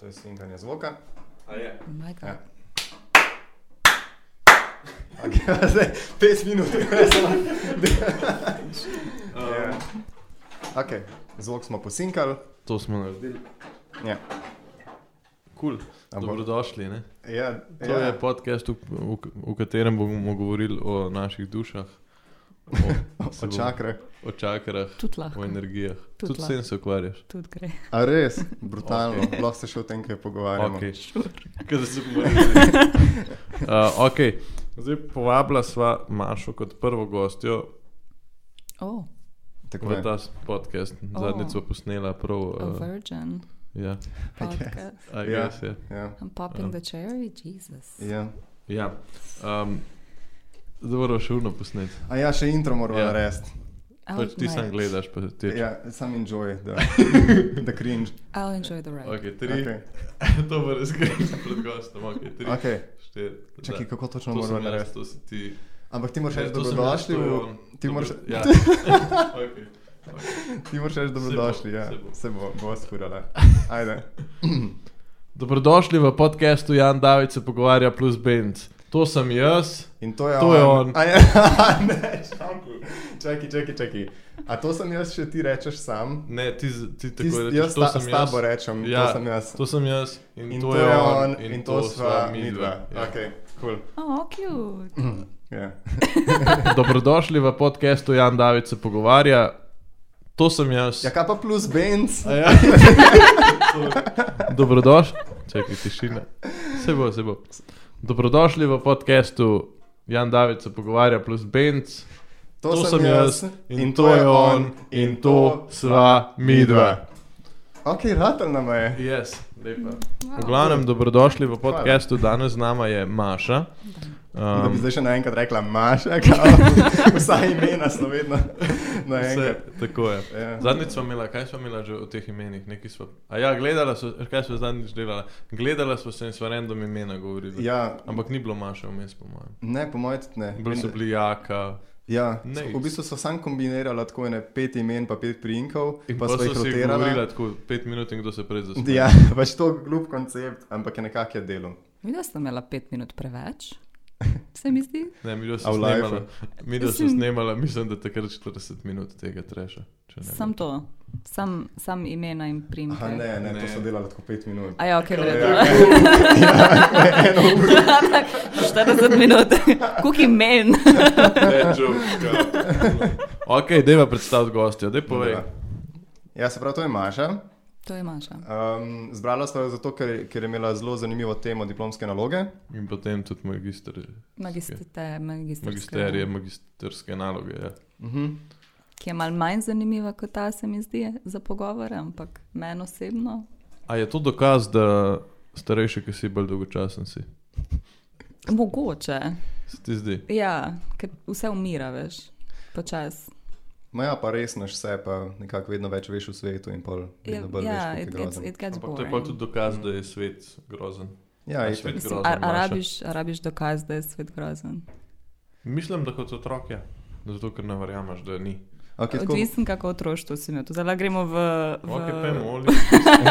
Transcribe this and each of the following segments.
To je slinkanje zvoka. A je. Maj kaj. Ja. Okay, zdaj, pet minut, kaj sem. Um, Okay, Ja. zvok smo posinkali. To smo naredili. Ja. Kul, cool. A bo- dobrodošli. Ne? Ja, To ja. je podcast, v, v, v katerem bomo govorili o naših dušah, o, se o bomo- čakrah. o čakrah, Tudi o lahko. energijah. Tudi Ja. Tudi s tem se ukvarjaš. Tudi gre. A res, brutalno. Okej. Okay. Lahko se še o tem kaj pogovarjamo. Okay. Kaj se pogovarjamo? uh, okay. Zdaj povabila sva Mašo kot prvo gostjo Oh, Tako v je. ta podcast. Zadnjič sva posnela prav. a Uh, virgin ja, podcast. I Ja. guess, ja. Ja. I'm popping the cherry, Jesus. Ja. ja. Um, Zdaj moramo še urno posneti. A ja, še intro moramo Ja. ja. narediti. Pač ti sam might- gledaš, pa ti tečeš. Ja, sam enjoy, da, da cringe. I'll enjoy the ride. Okay, tri, okay. Okay. to bo razkrito pred gostom. Okay, tri, okay. Okay. štiri. Čakaj, da. kako točno to moramo sem jaz, narediti? to si ti. Ampak ti moraš reči Ne, dobrodošli, Ja, to sem jaz, to je v- on. ti moraš- Dobro, Ja. okay. ti moraš reči dobrodošli, ja. se bo. se bo, bo skurala. Ajde. Dobrodošli v podkastu Jan David se pogovarja plus Bend. To sem jaz. In to je To je on. A ja, ne, šampu. Čakaj, čakaj, čakaj. A to sem jaz, če ti rečeš sam? Ne, ti, z- ti tako Ti, s- rečeš, jaz to sta, sem s jaz. tabo rečem, ja. Ja. to sem jaz. To sem jaz in, In to, je on, in, to sva midva. Ja. Ok, cool. Oh, cute. Ja. Dobrodošli v podkastu Jan David se pogovarja. To sem jaz. ja, kaj pa plus Benz? A Ja. Dobrodošli, čakaj tišina. Se bo, se bo. Dobrodošli v podkastu Jan David se pogovarja plus Benz. To, in, in to je on, in to sva midva. Ok, ratel nam je. Yes, lepa. Wow. V glavnem, dobrodošli v podkastu. Danes z nama je Maša. Um, da bi Um, zdaj še naenkrat rekla Maša, kao, vsa imena so vedno vse, naenkrat. Um, tako je. Ja. Zadnjič smo imeli, kaj smo imeli že o teh imenih? Nekaj Sva, a ja, gledala smo, kaj smo zadnjič delali. Gledala smo se in sva random imena govorili. Ja, Ampak ni bilo Maša vmes, po mojem. ne, po mojem, tudi ne. Bili so bili jaka. Ja, Nice. v bistvu so sam kombinirala tako ene pet imen, pa pet priimkov, In pa pa so jih so si rotirala. govorili tako pet minut in kdo se prej zasmeji. Ja, pač to je glup koncept, ampak je nekako je delo. Videla sem imela pet minut preveč, se mi zdi. Ne, mi da A smo v lifeu? snemali. Mi da smo Mislim- snemali, mislim, da takrat 40 minut tega treša. če ne Sam več. to, sam, sam imena in primek. Aha, ne, ne, ne, to Ne. so delali tako pet minut. A ja, ok, v redu. Ja, eno uro. 40 minut, kuki men. Ne, joke, ja. ok, deva predstaviti gostja, dej povej. Dobra. Ja, se pravi, to je Maša. To je Maša. Um, zbrala sta jo zato, ker, ker je imela zelo zanimivo temo diplomske naloge. In potem tudi magister, Magistrite, magistrska. magisterije, magisterske naloge. Ja. Uh -huh. Ki je mal manj zanimiva kot ta, se mi zdi, za pogovore, ampak meni osebno. A je to dokaz, da starejši, ki si bolj dolgočasen si? Mogoče. Se ti zdi? Ja, ker vse umira, veš, počasi. Ma ja, pa res naš vse, pa nekako vedno več veš v svetu in pol vedno bolj Ja, veš, it kako je gets, grozen. it gets Ampak to je pa tudi boring. dokaz, da je svet grozen. Ja, A itak. svet- Mislim, grozen, a, a, Maša. rabiš, a rabiš dokaz, da je svet grozen. Mislim, da kot otrok je. Zato, ker ne verjameš, da ni. okay, tako, Odvisen, kako otroštvo si imel. To Zdaj lahko gremo v. v... Ok, pojmo, oli.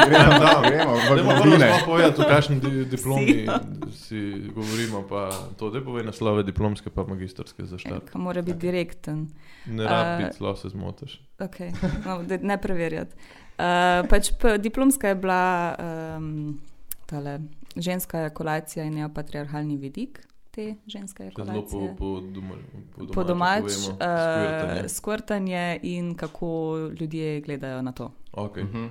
gremo, tam, gremo, v Dajmo prvo globine. sploh povedati, o kakšni di diplomi si govorimo. Pa to, da povej naslove diplomske, pa magistrske za štart. Eka, mora biti direkten. Ne Eh, rabi biti, zelo se zmotiš. Okay. No, da ne preverjati. Uh, pač p, diplomska je bila um, tale, ženska ejakulacija in neopatriarhalni vidik te ženske Še zelo po, ejakulacije. po, doma, po ja. Po domač, domače povemo, uh, skvirtanje. skvrtanje in kako ljudje gledajo na to. Ok. Mhm.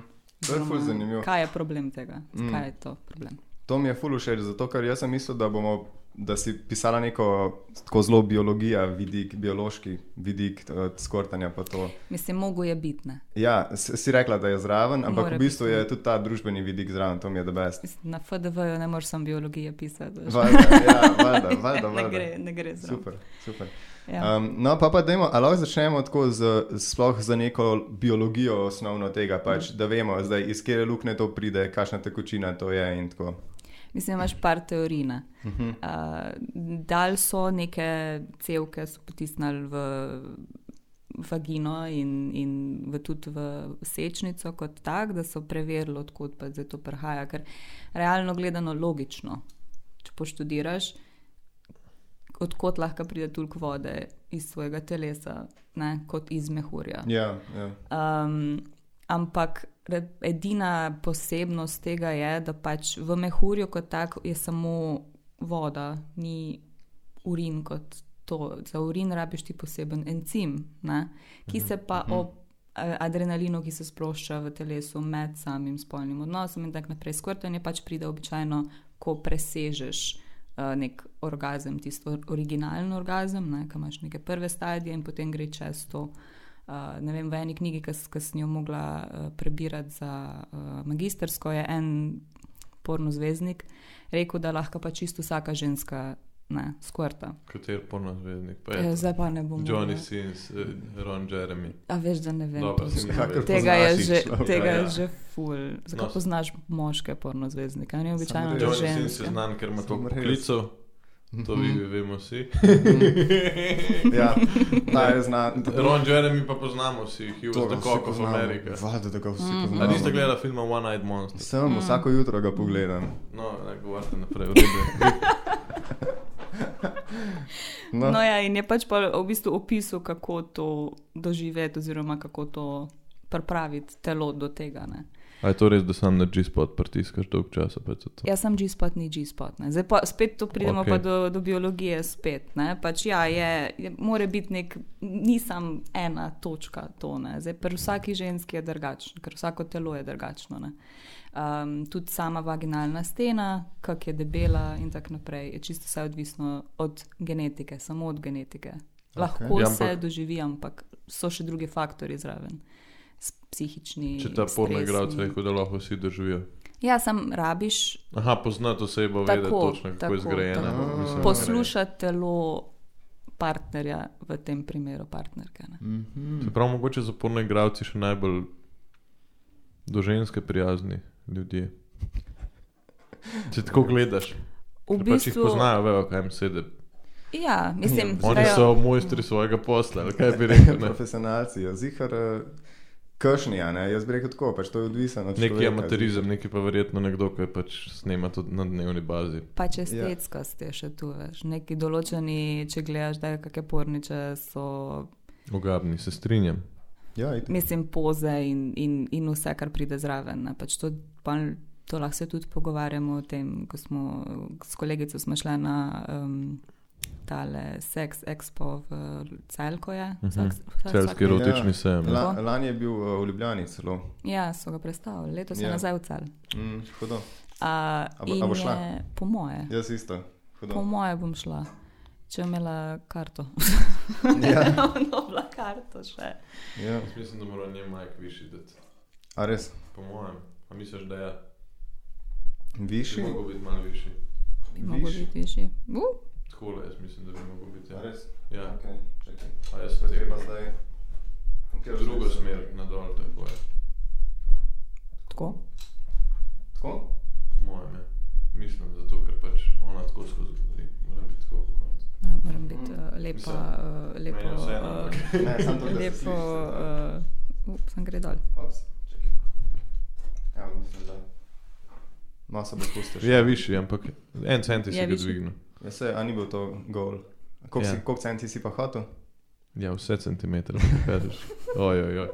To je ful Oziroma, zanimivo. Kaj je problem tega? Mm. Mm. Kaj je to problem? To mi je ful všeč, zato ker jaz sem mislil, da bomo. Da si pisala neko tako zelo biologija, vidik, biološki vidik eh, skortanja. pa to. Mislim, mogo je biti. ne. Ja, s- si rekla, da je zraven, ampak Mora v bistvu biti. ja. je tudi ta družbeni vidik zraven, to mi je debes. Mislim, Na FDV-ju ne moreš samo biologije pisati. veš. Valjda, ja, valjda, valjda, ne valjda. gre, ne gre zraven. Super, super. Ja. Um, no, pa pa dajmo, ali lahko začnemo tako z, sploh za neko biologijo osnovno tega, pač, Mhm. da vemo, zdaj, iz kje luknje to pride, kakšna tekočina to je in tako. Mislim, imaš par teorij. ne. Uh, dal so neke cevke, so potisnili v vagino in, in v, tudi v sečnico kot tak, da so preverili, odkot pa zdaj to prihaja. Ker realno gledano logično, če poštudiraš, odkot lahko pride toliko vode iz svojega telesa, ne, kot iz mehurja. Ja, ja. Um, ampak re- edina posebnost tega je, da pač v mehurju kot tak je samo voda, ni urin kot to. Za urin rabiš ti poseben encim, ne? ki se pa ob eh, adrenalinu, ki se sprošča v telesu med samim spolnim odnosom in tako naprej, skrtanje pač pride običajno, ko presežeš. eh, Nek orgazem, tisto or- originalen orgazem, ne, ki imaš neke prve stadije, in potem gre čez to Uh, ne vem, v eni knjigi, ki s- ki sem jo mogla uh, prebirati za uh, magistersko, je en porno zvezdnik rekel, da lahko pa čisto vsaka ženska ne, skvrta. Kater porno zvezdnik? Pa E, je to. zdaj pa ne bom. Johnny mogla. Sins, eh, Ron Jeremy. A veš, da ne vem. Dobro, točno. se mi Kakor zdi. Tega je Poznaš že, človeka, tega je ja. že ful. Zakaj No. poznaš moške porno zvezdnike? Oni običajno res. že Johnny Johnny Sins je ženske. znan, ker ima Samo toliko res. Mhm. klicev. To vi vemo vsi. ja, ta je znan. Ron Jeremy pa poznamo vsi, He was the cock of America. Vlada, da ga vsi Mm. poznamo. A niste gledali filma One Eyed Monster? Sem, Mm. vsako jutro ga pogledam. No, ne govorite naprej, v redu. No, No, ja, in je pač pa v bistvu opisal, kako to doživeti, oziroma kako to pripraviti telo do tega. Ne. A je to res, da sam na G-spot pritiskaš dolg časa? pa je to to? Jaz sem Ja, G-spot, ni G-spot. ne. Zdaj pa spet tu pridemo Okej. okay. pa do, do biologije. Spet, ne. pač, ja, je, je, more biti nek, nisem ena točka to. ne. Zdaj, pri vsaki ženski je drugačno, ker vsako telo je drugačno. ne. Um, tudi sama vaginalna stena, kak je debela in tako naprej, je čisto vse odvisno od genetike, samo od genetike. Lahko Ja, ja, ampak- se doživi, ampak so še drugi faktori zraven. S- Psihični. Če ta porno stresni. igralec rekel, da lahko vsi doživijo. Ja, sam rabiš Aha, poznati osebo, vedeti Tako, točno, kako je tako, zgrajena. tako. mislim, zgrajena. poslušati telo partnerja, v tem primeru partnerke. Ne? Čeprav mogoče za porno igralci še najbolj do ženske prijazni ljudje. Če tako gledaš, V ker pač jih bistvu, poznajo, vejo, kaj jim sedi. ja, mislim, Oni vejo- so mojstri svojega posla, ali kaj bi rekel. Ne? profesionalci, ja, zihar, kršnija, ne, jaz bi rekel tako, pač to je odvisno od Neki človeka. ja. amaterizem, neki pa verjetno nekdo, ki pač snema to na dnevni bazi. Pač estetskost je še tu, veš. Neki določeni, če gledaš, da je kakšne porniče, so, Ogabni, se strinjam. Ja, itak. mislim, poze in, in, in vse, kar pride zraven. ne. Pač to, pol- to lahko se tudi pogovarjamo o tem, ko smo s kolegico smo šli na um, tale Sex Expo v Celkoje. Mhm. Celski erotični Ja. sejem. La, Tako. lani je bil eh, v Ljubljani celo. Ja, so ga predstavili, letos so Ja. nazaj v cel. Mm, hudo. A, A bo- a in bo šla? je, po moje, Jaz isto. po Hudo. moje bom šla, če bom imela karto. Ja. Dobla karto še. Ja. Mislim, da mora njen majk višji dati, A res? po mojem. A misliš, da je? Višji? biti malo višji. Bi mogel Višji. biti višji. Uh, Tako jaz mislim, da bi mogel biti. A res? Ja, Okay, čakaj. a jaz To je treba zdaj. Katero smer? na dol, tako je. tako. Tako? Po mojem, ja. Mislim, zato ker pač ona tako skozi govori. Mora biti tako kot konc. Aj, Moram biti Mm. uh, lepa, uh, lepo. Meni je vseeno, ampak- Uh, Ne, samo to, da se lepo. sliši, Uh, up, sem gre dol. Ops, čakaj. Ja, mislim, da. No, se bo pustiš. Je Ja, višji, ampak en centi Je se ga višji. dvigne. Ja, se, a ni bil to gol. Koliko Ja. yeah. kolik centi si pa hotel? Ja, vse centimetre, kažeš. Ojoj, oj.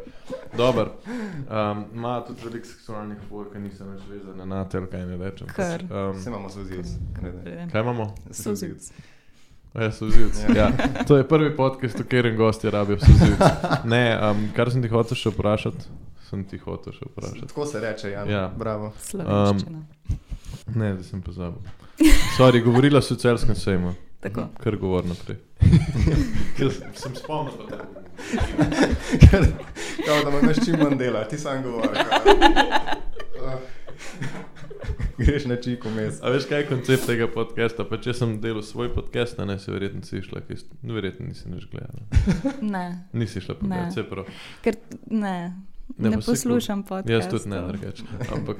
Dober. Um, ima tudi veliko seksualnih vor, ki niso več vezane na tel, kaj ne rečem. Kar. Vse Um, imamo suzilc. Pridem. kaj imamo? Suzilc. A Ja, suzivci. Ja. Ja. To je prvi podcast, v katerem gosti rabijo suzivce. Ne, um, kar sem ti hotel še vprašati, sem ti hotel še vprašati. Tako se reče, Jan. Ja. Ja. Bravo. Slovenščina. Um, Ne, da sem pozabil. Sorry, govorila si o celskem sejmu, tako. kar govor naprej. Jaz sem spomnil, da Kao, da imaš čim manj dela, ti sam govoriš. Greš na čik vmes. A veš, kaj je koncept tega podcasta? Pa če sem delal svoj podcast, a ne se verjetno si šla, kaj, no, verjetno nisi nič gledala. Ne, Nisi šla Ne. pogledat, vse prav. ker ne, Ne, ne, ne pa saj kul. poslušam Jaz podcastov. tudi ne, drugače. Ampak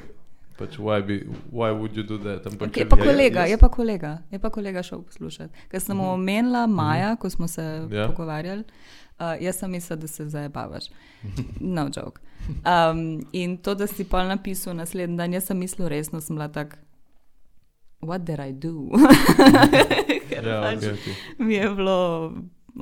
Pač, why, bi, why would you do that? Ampak, Okay, je če pa bi- kolega, jaz- je pa kolega, je pa kolega šel poslušati. Ker sem mu omenila Maja, ko smo se Mhm. Ja. pogovarjali, uh, jaz sem mislila, da se zabavaš. Mhm. No, joke. Um, in to, da si pa napisal naslednji dan, jaz sem mislila resno, sem bila tak. What did I do? Ker Ja, pač okay, okay. Mi je bilo,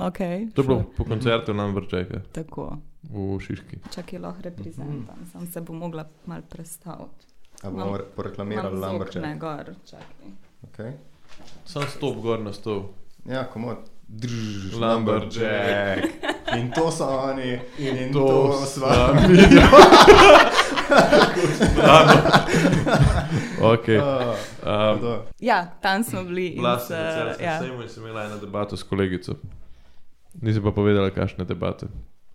ok. To je bilo po koncertu nam vrčeka Tako, v Šiški. čak je lahko reprezentant, sam se bom mogla mal predstaviti. A Imam- bomo re- poreklamirali Imam zvok Lambrček? na gor, čakaj. Okay. Sam stop gor na stol. Ja, komod. Drž, Lumberjack. In to so oni, in, in to to, to sva sva mi. Okay. Uh, Um, to. Ja, tam smo bili. in Vlasta, se- na celskem ja. sejmu in sem imela eno debato s kolegico. Nisi pa povedala, kakšne debate.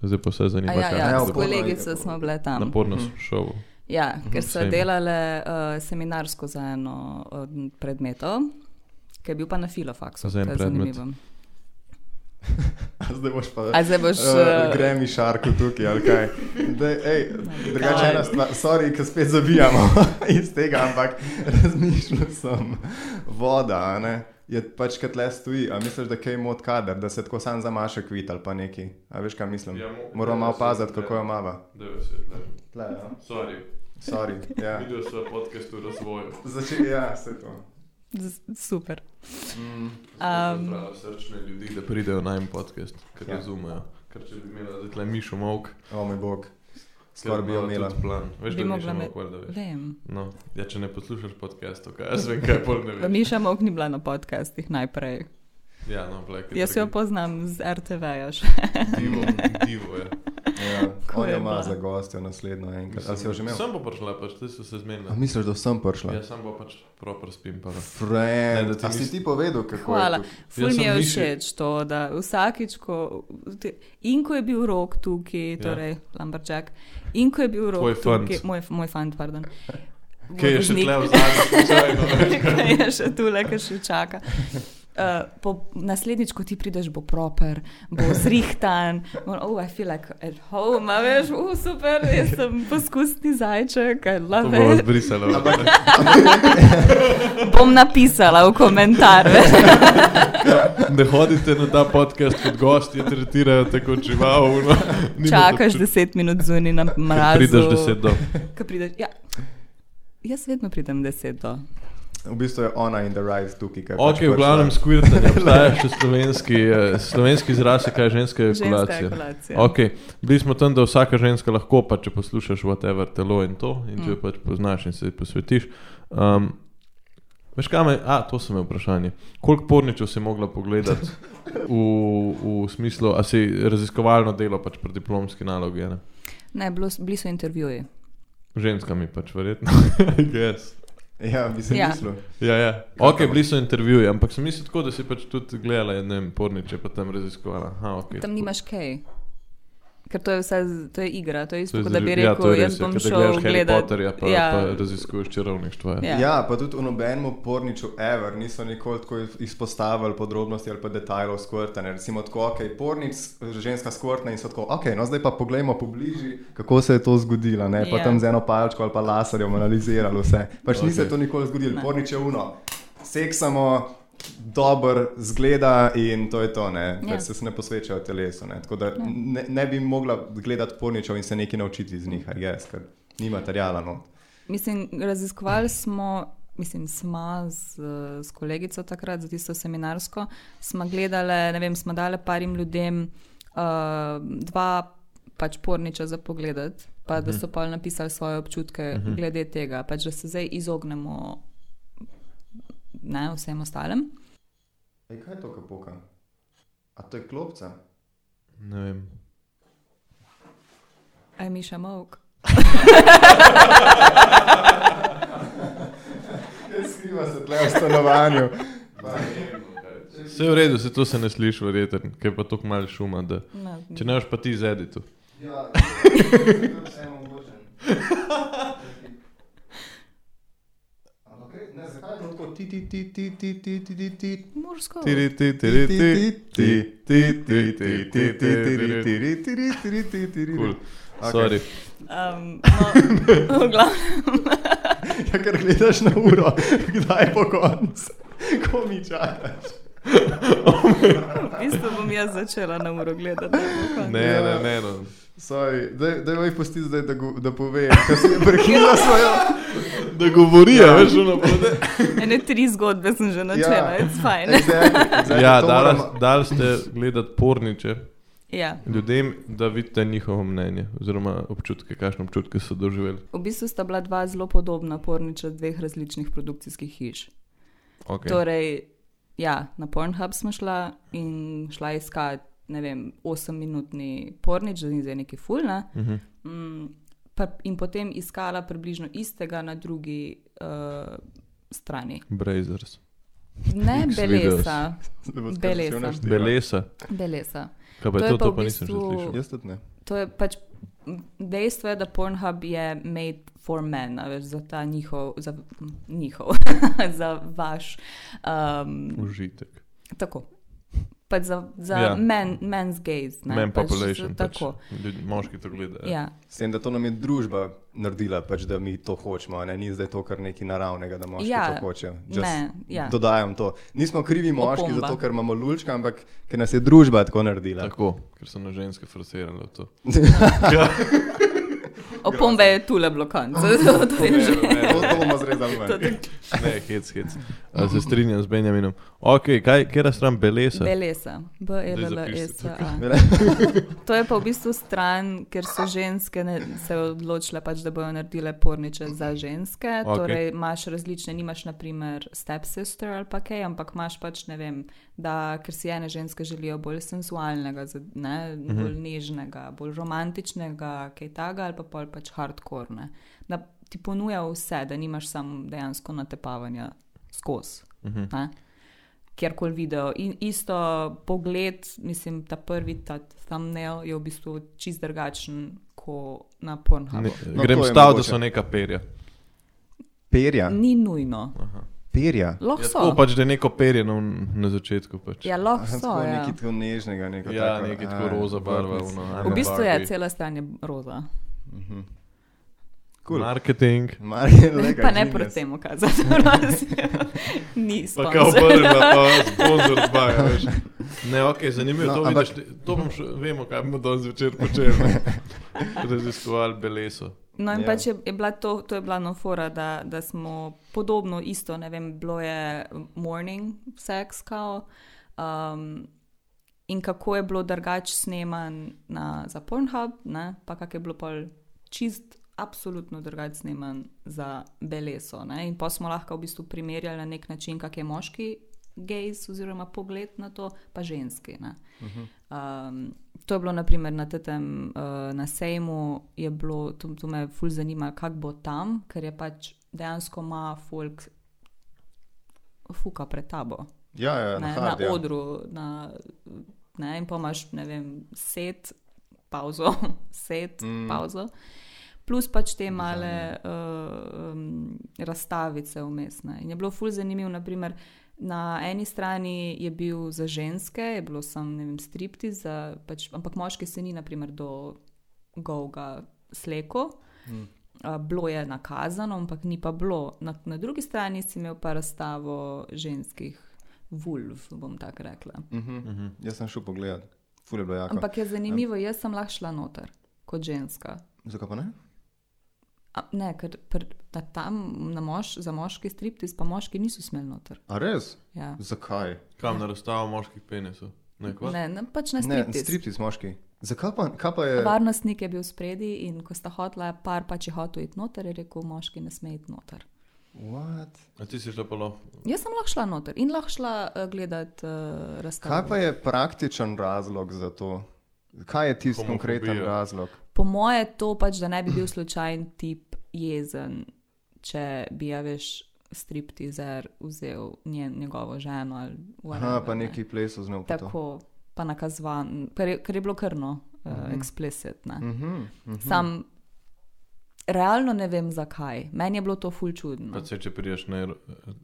Zdaj pa vse zanima. A Ja, kakšne Ja, ja, s v debate. Portnovi kolegico je Mhm, smo bile Na tam. porno šovu. Ja, ker so Sejmu. delale uh, seminarsko za eno od predmetov, ki je bil pa na filofaksu. Za en to je predmet. zanimivo. A Zdaj boš pa. A zdaj boš. Uh, Uh, Gremi šarku tukaj, ali kaj. Daj, ej, Oh Drugače Aj. ena stvar, sorry, ki spet zabijamo iz tega, ampak razmišljal sem, voda, a ne, je pač kot le stoji, a misliš, da kaj mod kader, da se tako sam zamaše kvit ali pa neki, a veš, kaj mislim? Ja, mo- Moramo malo ja, paziti, ja. kako jo mava. Tle, ja. Sorry, Sorry, ja. sem podcast v razvoju. Začeli, ja, se to. z- super. Mm. Um, Prav srčne ljudi, da pridejo na en podcast, ker Ja. razumejo. Ker če bi imela zdaj tle mišo mok, O moj bog, skoraj bi jo imela. plan. Veš, Bi da mogla mišo imeti- mok, da veš. Vem. No, ja, če ne poslušaš podcastov, kaj jaz vem, kaj pol ne veš. Miša Mok ni bila na podcastih najprej. Ja, no, plek. Jaz jo poznam z RTV-ja še. Divo, divo je. Ja. Ko On je jo ima bila? za gostjo naslednjo enkrat. A si jo že imel? Sem pa prišla, pač te so se A zmenili. misliš, da sem prišla? Ja, sem pa pač proper spim. Pa. Ne, Friend, da ti a si nis- ti povedal, kako Hvala. je? to? Ful Jaz mi sem je Miši- všeč to, da vsakič, ko, te- in ko je bil rok tukaj, Ja. torej Lamberčak, in ko je bil rok Tvoj fant. tukaj, moj, moj fant, pardon. Kaj je še Voznik. tle v zadnjem? Kaj je še tule, kar še čaka. Uh, po, naslednjič, ko ti prideš, bo proper, bo zrihtan, bo, oh, I feel like at home, a veš, uh, super, jaz sem poskusni zajček, I To love bo it. odbrisalo. Bom napisala v komentarje. Ne hodite na ta podcast kot gosti, tretirajo tako žival. No. Nimate Čakaš občut- 10 minut zunaj na mrazu. Prideš deset do. Ko prideš, ja. Jaz vedno pridem 10 do. V bistvu je ona in the right tukaj. ker Ok, pač v glavnem prišla. skvirtanje, obstaja še slovenski, eh, slovenski izraz, je kaj je ženska Ženska ejakulacija. ejakulacija. Ok, bili smo tam, da vsaka ženska lahko, pa če poslušaš whatever telo in to, in če jo Mm. pač poznaš in se ji posvetiš. Um, veš kaj, me, a to sem imel vprašanje. Koliko porničev si mogla pogledati v, v smislu, a si raziskovalno delo pač pri diplomski nalogi, a ne? Ne, bilo, s- bili so intervjuji. ženskami pač verjetno, I guess. Ja, bi se Ja. ja. mislil. Ja, ja. Ok, bili so intervjuji, ampak sem mislil tako, da si pač tudi gledala, ne vem, porniče, pa tam raziskovala. Aha, okay, Tam nimaš kaj. Ker to je vse, z- to je igra, to je isto, To je kot da bi zdrž- ja, to rekel, je jaz res, ja, bom ker da šel gledaš Harry gledat. Potterja, pa, ja. ja. pa raziskuješ čarovništvo. Ja. Ja. Ja. ja, pa tudi v nobenem porniču ever niso nikoli tako izpostavili podrobnosti ali pa detajlov skvrtanja. Recimo tako, ok, pornič, ženska skvrtna in so tako, ok, no zdaj pa poglejmo pobliži, kako se je to zgodilo, ne? pa Ja. yeah. tam z eno palčko ali pa laserjem analizirali vse. Pač okay. ni se Okej. to nikoli zgodilo, Ne. pornič je uno. Seksamo, dober zgleda in to je to, ne? Ja. Pač se ne posvečajo telesu. Ne? Tako da ne, ne bi mogla gledati porničev in se nekaj naučiti iz njih, jaz, ker ni materijala. No. Mislim, raziskovali smo, mislim, sma z, s kolegico takrat za tisto seminarsko, smo gledali, ne vem, smo dali parim ljudem uh, dva pač porniča za pogled, pa Mhm. da so pa napisali svoje občutke uh -huh. glede tega, pač da se zdaj izognemo ne, vsem ostalem. Ej, kaj je to, kar poka? A to je klopca? Ne vem. Aj, Miša Mavk. Skriva se tle v stanovanju. Vse je v redu, se to se ne sliši, verjetno, ker je pa tako malo šuma. Da. No, Če ne boš pa ti zedi tu. Ja, vseeno mogočen. Ampak ne, zakaj je to tako ti, ti, ti, ti, ti, ti, ti, ti, ti, Morsko. Tiri, ti, tiri, ti, ti, ti, ti, ti, ti, ti, ti. Cool. Okej. Sorry. Um, no, v glavnem. Ja, ker gledaš na uro, kdaj bo konc, ko mi čakaš. V bistvu bom jaz začela na uro gledati. da bo konec. Ne, ne, ne. No. Sorry, daj, daj mi pusti zdaj, da, go, da pove, kaj si je prekinila svojo. Da govorijo, ja. veš, ono prode. Ene tri zgodbe sem že načela, Ja. je fajn. Exactly, exactly, Ja, to dali, moram- dali ste gledati porniče Ja. ljudem, da vidite njihovo mnenje oziroma občutke, kakšne občutke so doživeli. V bistvu sta bila dva zelo podobna porniča dveh različnih produkcijskih hiš. Okay. Torej, ja, na Pornhub smo šla in šla iskat, ne vem, 8-minutni pornič, da ni zdaj neki fulna. Uh -huh. Mm, pa, in potem iskala približno istega na drugi uh, strani. Brazers. Ne X belesa, Ja, Zdaj bo skar Belesa. začel naštevati. Belesa. belesa. Kaj pa To je je to, pa to v pa nisem še bistvu- slišal. Jaz tudi ne. To je pač dejstvo, je, da Pornhub je made for men, a veš, za ta njihov, za njihov, za vaš. Um, Užitek. tako. Pač za, za Ja. ja. men, men's gaze. Ne? Men pač population. za- Tako. Pač. eh, Ljud, moški to gledajo. Ja. S tem, da to nam je družba naredila, pač, da mi to hočemo, a ne? ni zdaj to kar nekaj naravnega, da moški Ja, to hočejo. Just Ne, ja. Dodajam to. Nismo krivi moški, Opomba. zato ker imamo lulčka, ampak ker nas je družba tako naredila. Tako, ker so na ženske frustrirali v to. Opombe je tule bilo konc. Zato to je že. Ne, to, to bomo zrezali To ven. je Ne, hec, hec. A, se strinjam z Benjaminom. Ok, kaj, kera stran Belesa? Belesa, E Zdaj B-E-L-L-E-S-A. Bele- To je pa v bistvu stran, ker so ženske ne, se odločile, pač, da bodo naredile porniče za ženske. Okej. Okay. Torej, imaš različne, nimaš naprimer stepsister ali pa kaj, ampak imaš pač ne vem, da ker si ene ženske želijo bolj senzualnega, za- ne, mm -hmm. bolj nežnega, bolj romantičnega, kaj takega, ali pa pol pač hardcore. Ne. Da ti ponuja vse, da nimaš samo dejansko natepavanja skozi. Mm Mhm. -hmm kjerkoli video. In isto pogled, mislim, ta prvi, ta thumbnail je v bistvu čist drugačen kot na Pornhubu. Ne, Ne. No, grem to je stav, da mogoče. so neka perja. Perja, Ni nujno. perja. Lahko Ja, so. tako pač, da je neko perje na, na začetku. Pač. Ja, lahko Aha, so. tako Ja. nekaj tako nežnega, neko Ja, tako, nekaj a, tako roza barva, vrtnic. ono, Mhm. V Ana bistvu je Barbie. cela stran je roza. Kul. Marketing. Mar je legal. Pa ne proti temu kazati. prosim. Ni Pa kao sponsor. prvi, pa sponzor zbaja, veš. Ne, ok, zanimivo, No, to ampak- vidiš, te- to bom še, vemo, kaj bomo danes večer počeli. ne. Raziskovali beleso. No, in Ja. yeah. pač je, je bila to, to je bila nofora, da, da smo podobno isto, ne vem, bilo je morning sex, kao. Um, in kako je bilo drugače sneman na, za Pornhub, ne, pa kak je bilo pol čist, absolutno drugače sneman za Beleso. Ne, in pa smo lahko v bistvu primerjali na nek način, kak je moški gejs oziroma pogled na to, pa ženski. Ne. Um, to je bilo naprimer na tem uh, na sejmu, je bilo, to, to me ful zanima, kako bo tam, ker je pač dejansko ima folk fuka pred tabo Ja, ja, ne, hard, na ja. odru. Na, ne, in pa imaš, ne vem, set, pauzo, set, mm. pauzo. Plus pač te male uh, um, razstavice umestne. In je bilo ful zanimivo, naprimer. Na eni strani je bil za ženske, je bilo samo, ne vem, stripti, za, pač, ampak moški se ni, naprimer, do govga sleko. Uh, bilo je nakazano, ampak ni pa bilo. Na, na drugi strani si imel pa razstavo ženskih vulv, bom tako rekla. Mhm, mhm. Jaz sem šel pogledat. Ful je bilo jako. Ampak je zanimivo, jaz sem lahko šla noter kot ženska. Zakaj pa ne? A, ne, ker pr, na tam na mož, za moški striptiz pa moški niso smeli noter. A res? Ja. Zakaj? Kam na razstavo moških penisov? Ne, kva? Ne, ne, pač na Ne, striptiz. striptiz moški. Zakaj pa, kaj pa je? Varnostnik je bil spredi in ko sta hotla, par pač je hotel iti noter, je rekel, moški ne sme iti noter. What? A ti si šla pa lahko? Jaz sem lahko šla noter in lahko šla uh, gledati uh, razstavo. Kaj pa je praktičen razlog za to? Kaj je tisti Homofobija. konkreten razlog? Po moje to pač, da ne bi bil slučajen tip jezen, če bi ja veš striptizer vzel njen, njegovo ženo ali whatever, Aha, pa ne. neki pleso z njo. pa to. Tako, pa nakazvan, ker je, ker je bilo krno, uh, Mhm. eksplicitno. Sam realno ne vem zakaj. Meni je bilo to ful čudno. Pa se, če priješ na ero-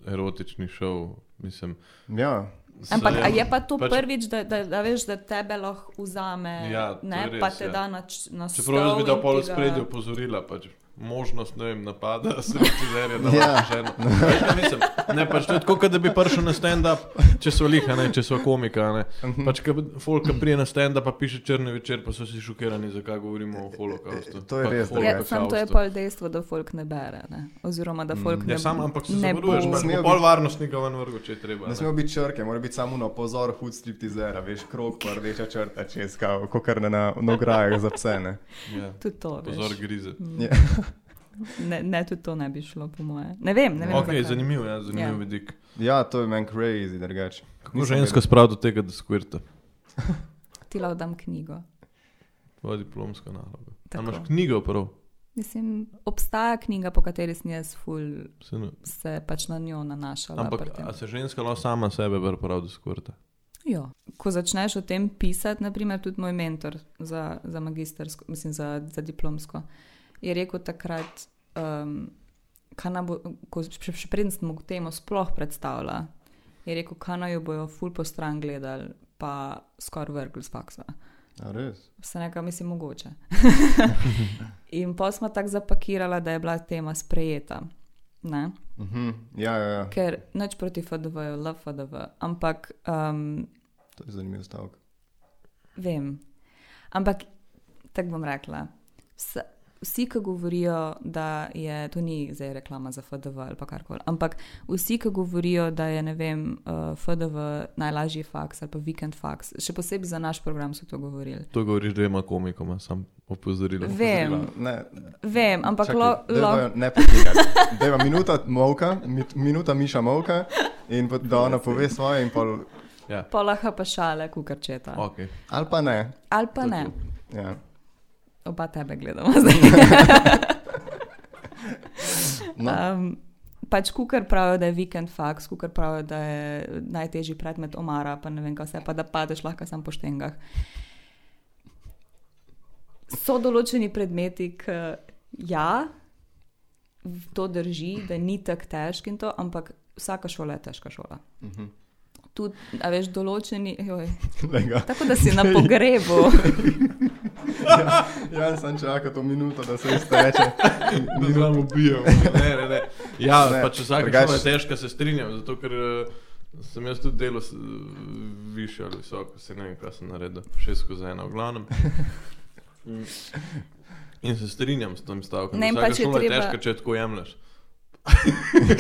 erotični šov, mislim. Ja, Ampak se- a je pa to pač- pač, prvič, da, da, da veš, da tebe lahko vzame, Ja, to je ne, res, pa te ja. da na, č- na stol. Čeprav jaz bi in da ti pol ga- spredje opozorila, pač možnost ne vem, napada, srečizerja na Ja. ja. ženo. Veš, kaj mislim? Ne, pač to je tako, kot da bi prišel na stand-up, če so liha, ne, če so komika. a Ne. Mhm. Pač, ko folk ko prije na stand-up pa piše črni večer, pa so si šokirani, zakaj govorimo o holokaustu. To je Pa res, da je. holokaustu. Ja, sam to je pol dejstvo, da folk ne bere. Ne? Oziroma, da folk ne Ja, sam, ampak se ne zavaruješ, bo- imaš Smejo pa biti- pol varnostnika ven vrgo, če je treba. Ne ne. smejo biti črke, mora biti samo no, pozor, hud striptizera, veš, krog, pa rdeča črta čez, kot kar na nograjah za pse. Ne? Ja. Tudi to. veš. Mm. Pozor, grize. Ja. Ne, ne, tudi to ne bi šlo, po moje. Ne vem, ne vem. Ok, zakaj. zanimiv, ja, zanimiv Ja. ja. vidik. Ja, to je meni crazy, drugače. Kako Nisem ženska spravi do tega, da skvirta? Ti lahko dam knjigo. Tvoja diplomska naloga. A Tako. Imaš knjigo prav? Mislim, obstaja knjiga, po kateri sem jaz ful Se ne... se pač na njo nanašala. Ampak pri tem. a se ženska lahko sama sebe bere prav do skvirta? Jo. Ko začneš o tem pisati, naprimer, tudi moj mentor za, za magistersko, mislim, za, za diplomsko, je rekel takrat, um, kaj nam bo, ko še, še preden smo temu sploh predstavljali, je rekel, kaj naj jo bojo ful po stran gledali, pa skoraj vrgli z faksa. A res? Vse nekaj, mislim, mogoče. In pa smo tako zapakirali, da je bila tema sprejeta. Ne? Mhm. Ja, ja, ja, Ker nič proti FDV-ju, LFDV, ampak um, to je zanimiv stavek. Vem. Ampak tako bom rekla. Vse, vsi, ki govorijo, da je to ni zdaj reklama za FDV ali pa karkoli, ampak vsi, ki govorijo, da je ne vem, uh, FDV najlažji faks ali pa vikend faks, še posebej za naš program so to govorili. To govoriš dvema komikoma, sam opozorila. Vem, Ne, vem, ampak čakaj, lo, lo, dajva jo Ne potirati. Deva minuta molka, mit, minuta miša molka in pot, da ona pove svoje in pol. Ja, polaha pa šale, kukarčeta. ok. Ali pa ne. Ali pa ne, Ja. oba tebe gledamo zdaj. No. Um, pač kukar pravijo, da je vikend faks, kukar pravijo, da je najtežji predmet omara, pa ne vem, kaj vse, pa da padeš lahko sam po štengah. So določeni predmeti, ki ja, to drži, da ni tako težko in to, ampak vsaka šola je težka šola. Mhm. Tudi, a veš, določeni, joj, Glej ga. tako da si na pogrebu. Ja, sem čakal to minuto, da se isto reče. Ne znam ubijal. Ne, ne, ne. Ja, Ne, ne, pač drugače- vsaka drugač... šola je težka, se strinjam, zato ker eh, sem jaz tudi delal s- više ali visoko, se ne vem, kaj sem naredil, šest skozi ena, v glavnem. Mm. In se strinjam s tem stavkom. Ne, in Vsaka pač je šola je treba- težka, če jo tako jemliš.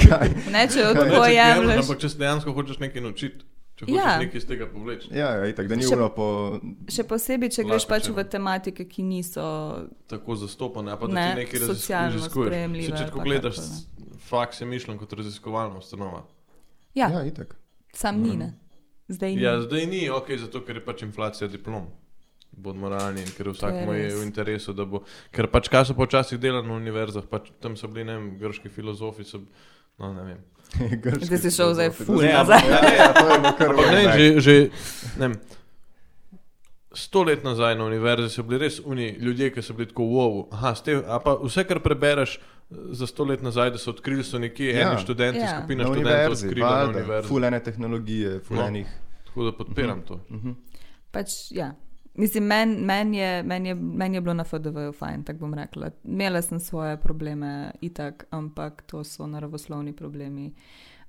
Kaj? Ne, če jo Ne, Ja, če tako jemliš. ampak če se dejansko hočeš nekaj naučiti, če hočeš Ja. ja. nekaj iz tega povleči. Ja, ja, itak, da ni Še- uro po... Še posebej, če greš Lahko pač čemu. v tematike, ki niso tako zastopane, a pa da Ne, ti nekaj razis- socialno raziskuješ. sprejemljive Saj, Če ali tako pa gledaš, tako, faks je mišljen kot raziskovalna ustanova. Ja, ja. ja itak. sam ni, ne. Zdaj ni. Ja, zdaj ni ok, zato ker je pač inflacija diplom. Bod moralni in ker vsakmo je res. v interesu, da bo. Ker pač kaj so počasih delali na univerzah, pač tam so bili, ne vem, grški filozofi. So, no, ne vem. Grški Zdaj si šel zdaj filozofi, ful da- nazaj. Ja, ja, to je bilo kar Ampak ne, vrh, že, že ne vem, sto let nazaj na univerzi so bili res oni ljudje, ki so bili tako wow. Aha, ste, a pa vse, kar prebereš eh, za sto let nazaj, da so odkrili, so nekje Ja. ja. eni študenti, Ja. ja. skupina Na študentov univerzi, odkrila na valjda. univerzi. Ful Mhm. ene tehnologije, ful No. enih... Tako da podpiram to. Pač, ja. Mislim, meni men je, men je, men je bilo na FDV-ju fajn, tako bom rekla. Imela sem svoje probleme, itak, ampak to so naravoslovni problemi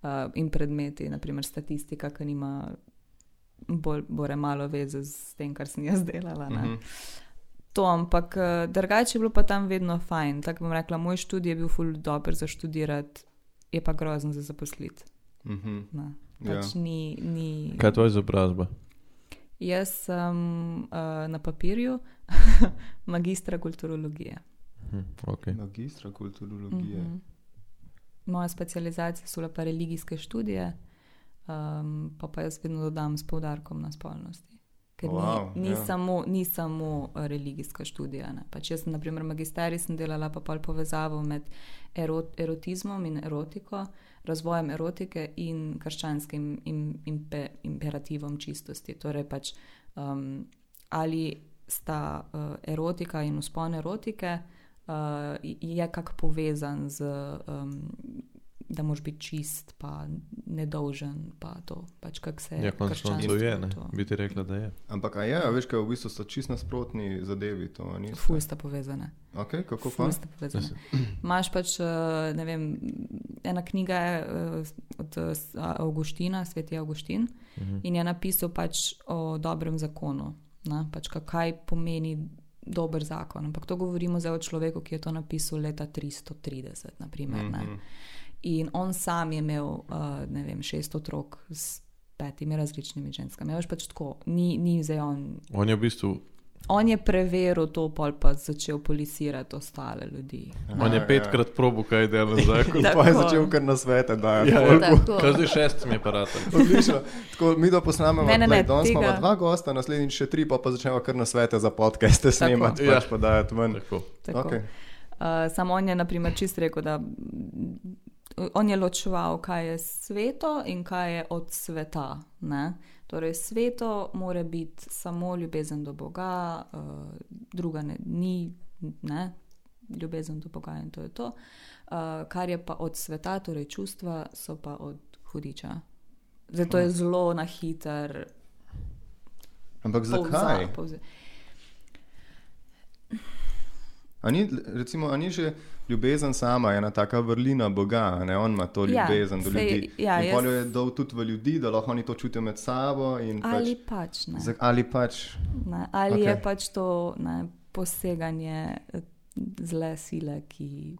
uh, in predmeti, naprimer statistika, ki nima bolj, bore malo veze s tem, kar sem jaz delala. Ne? Mhm. To, ampak eh, drugače je bilo pa tam vedno fajn. Tako bom rekla, moj študij je bil ful dober za študirati, je pa grozen za zaposliti. Mhm. ne. Ja. Pač ja. ni, ni... Kaj je tvoja izobrazba? Jaz sem uh, na papirju magistra kulturologije. Hm, okay. Magistra kulturologije. Mhm. Moja specializacija so bile pa religijske študije, um, pa, pa jaz vedno dodam s poudarkom na spolnosti. Ker Wow, wow, ni, ni, ja. yeah. samo, ni samo eh, religijska študija. ne. Pač jaz, sem, naprimer, magisterij sem delala pa pol povezavo med erot, erotizmom in erotiko, razvojem erotike in krščanskim im, impe, imperativom čistosti. Torej pač, um, ali sta uh, erotika in uspon erotike uh, je kak povezan z, um, da moraš biti čist, pa nedolžen, pa to, pač kak se Ja, končno koncev je, ne. krščanstvo, to. Bi ti rekla, da je. Ampak a je, a veš, kaj v bistvu so čist nasprotni zadevi. To, a niste? Ful sta povezane. okay, kako pa? Ful sta povezane. Imáš pač, eh, ne vem, ena knjiga je eh, od eh, s- Avguština, sveti Avguštin, Mhm. in je napisal pač o dobrem zakonu, ne? pač ka- kaj pomeni dober zakon. Ampak to govorimo zdaj o človeku, ki je to napisal leta 330, naprimer. Mm Mhm. -hmm. In on sam je imel, uh, ne vem, šest otrok s petimi različnimi ženskami. Ja, veš pač tako, ni, ni zdaj on. On je v bistvu, On je preveril to, pol pa začel policirati ostale ljudi. on je Ja, petkrat probo, kaj je delal zakon. In pa je Tako. začel kar na svete, da je. Ja, Ja, ja. Tako. Kaj zdaj šest mi je parata? Odlično. Tako, mi da posnamemo, Ne, ne, glej, ne, danes tega- imamo dva gosta, naslednjič še tri, pa pa začnemo kar na svete za podcaste snemati, Ja. pač pa dajati ven. Tako. Tako. Okay. Uh, samo on je, na primer, čist rekel, da mm, on je ločeval, kaj je sveto in kaj je od sveta. Ne? Torej, sveto mora biti samo ljubezen do Boga, uh, druga ne, ni, ne, ljubezen do Boga in to je to. Uh, kar je pa od sveta, torej čustva, so pa od hudiča. Zato je zelo na hiter, Ampak zakaj? povzam. povzam. A ni, recimo, a ni že ljubezen sama ena taka vrlina Boga, a ne on ima to Ja, ljubezen do sej, ljudi. ja, in jaz- poljo je dal tudi v ljudi, da lahko oni to čutijo med sabo. in Ali Pač, pač ne. za- ali pač. Ne, ali okay. je Okej. pač to ne, poseganje eh, zle sile, ki,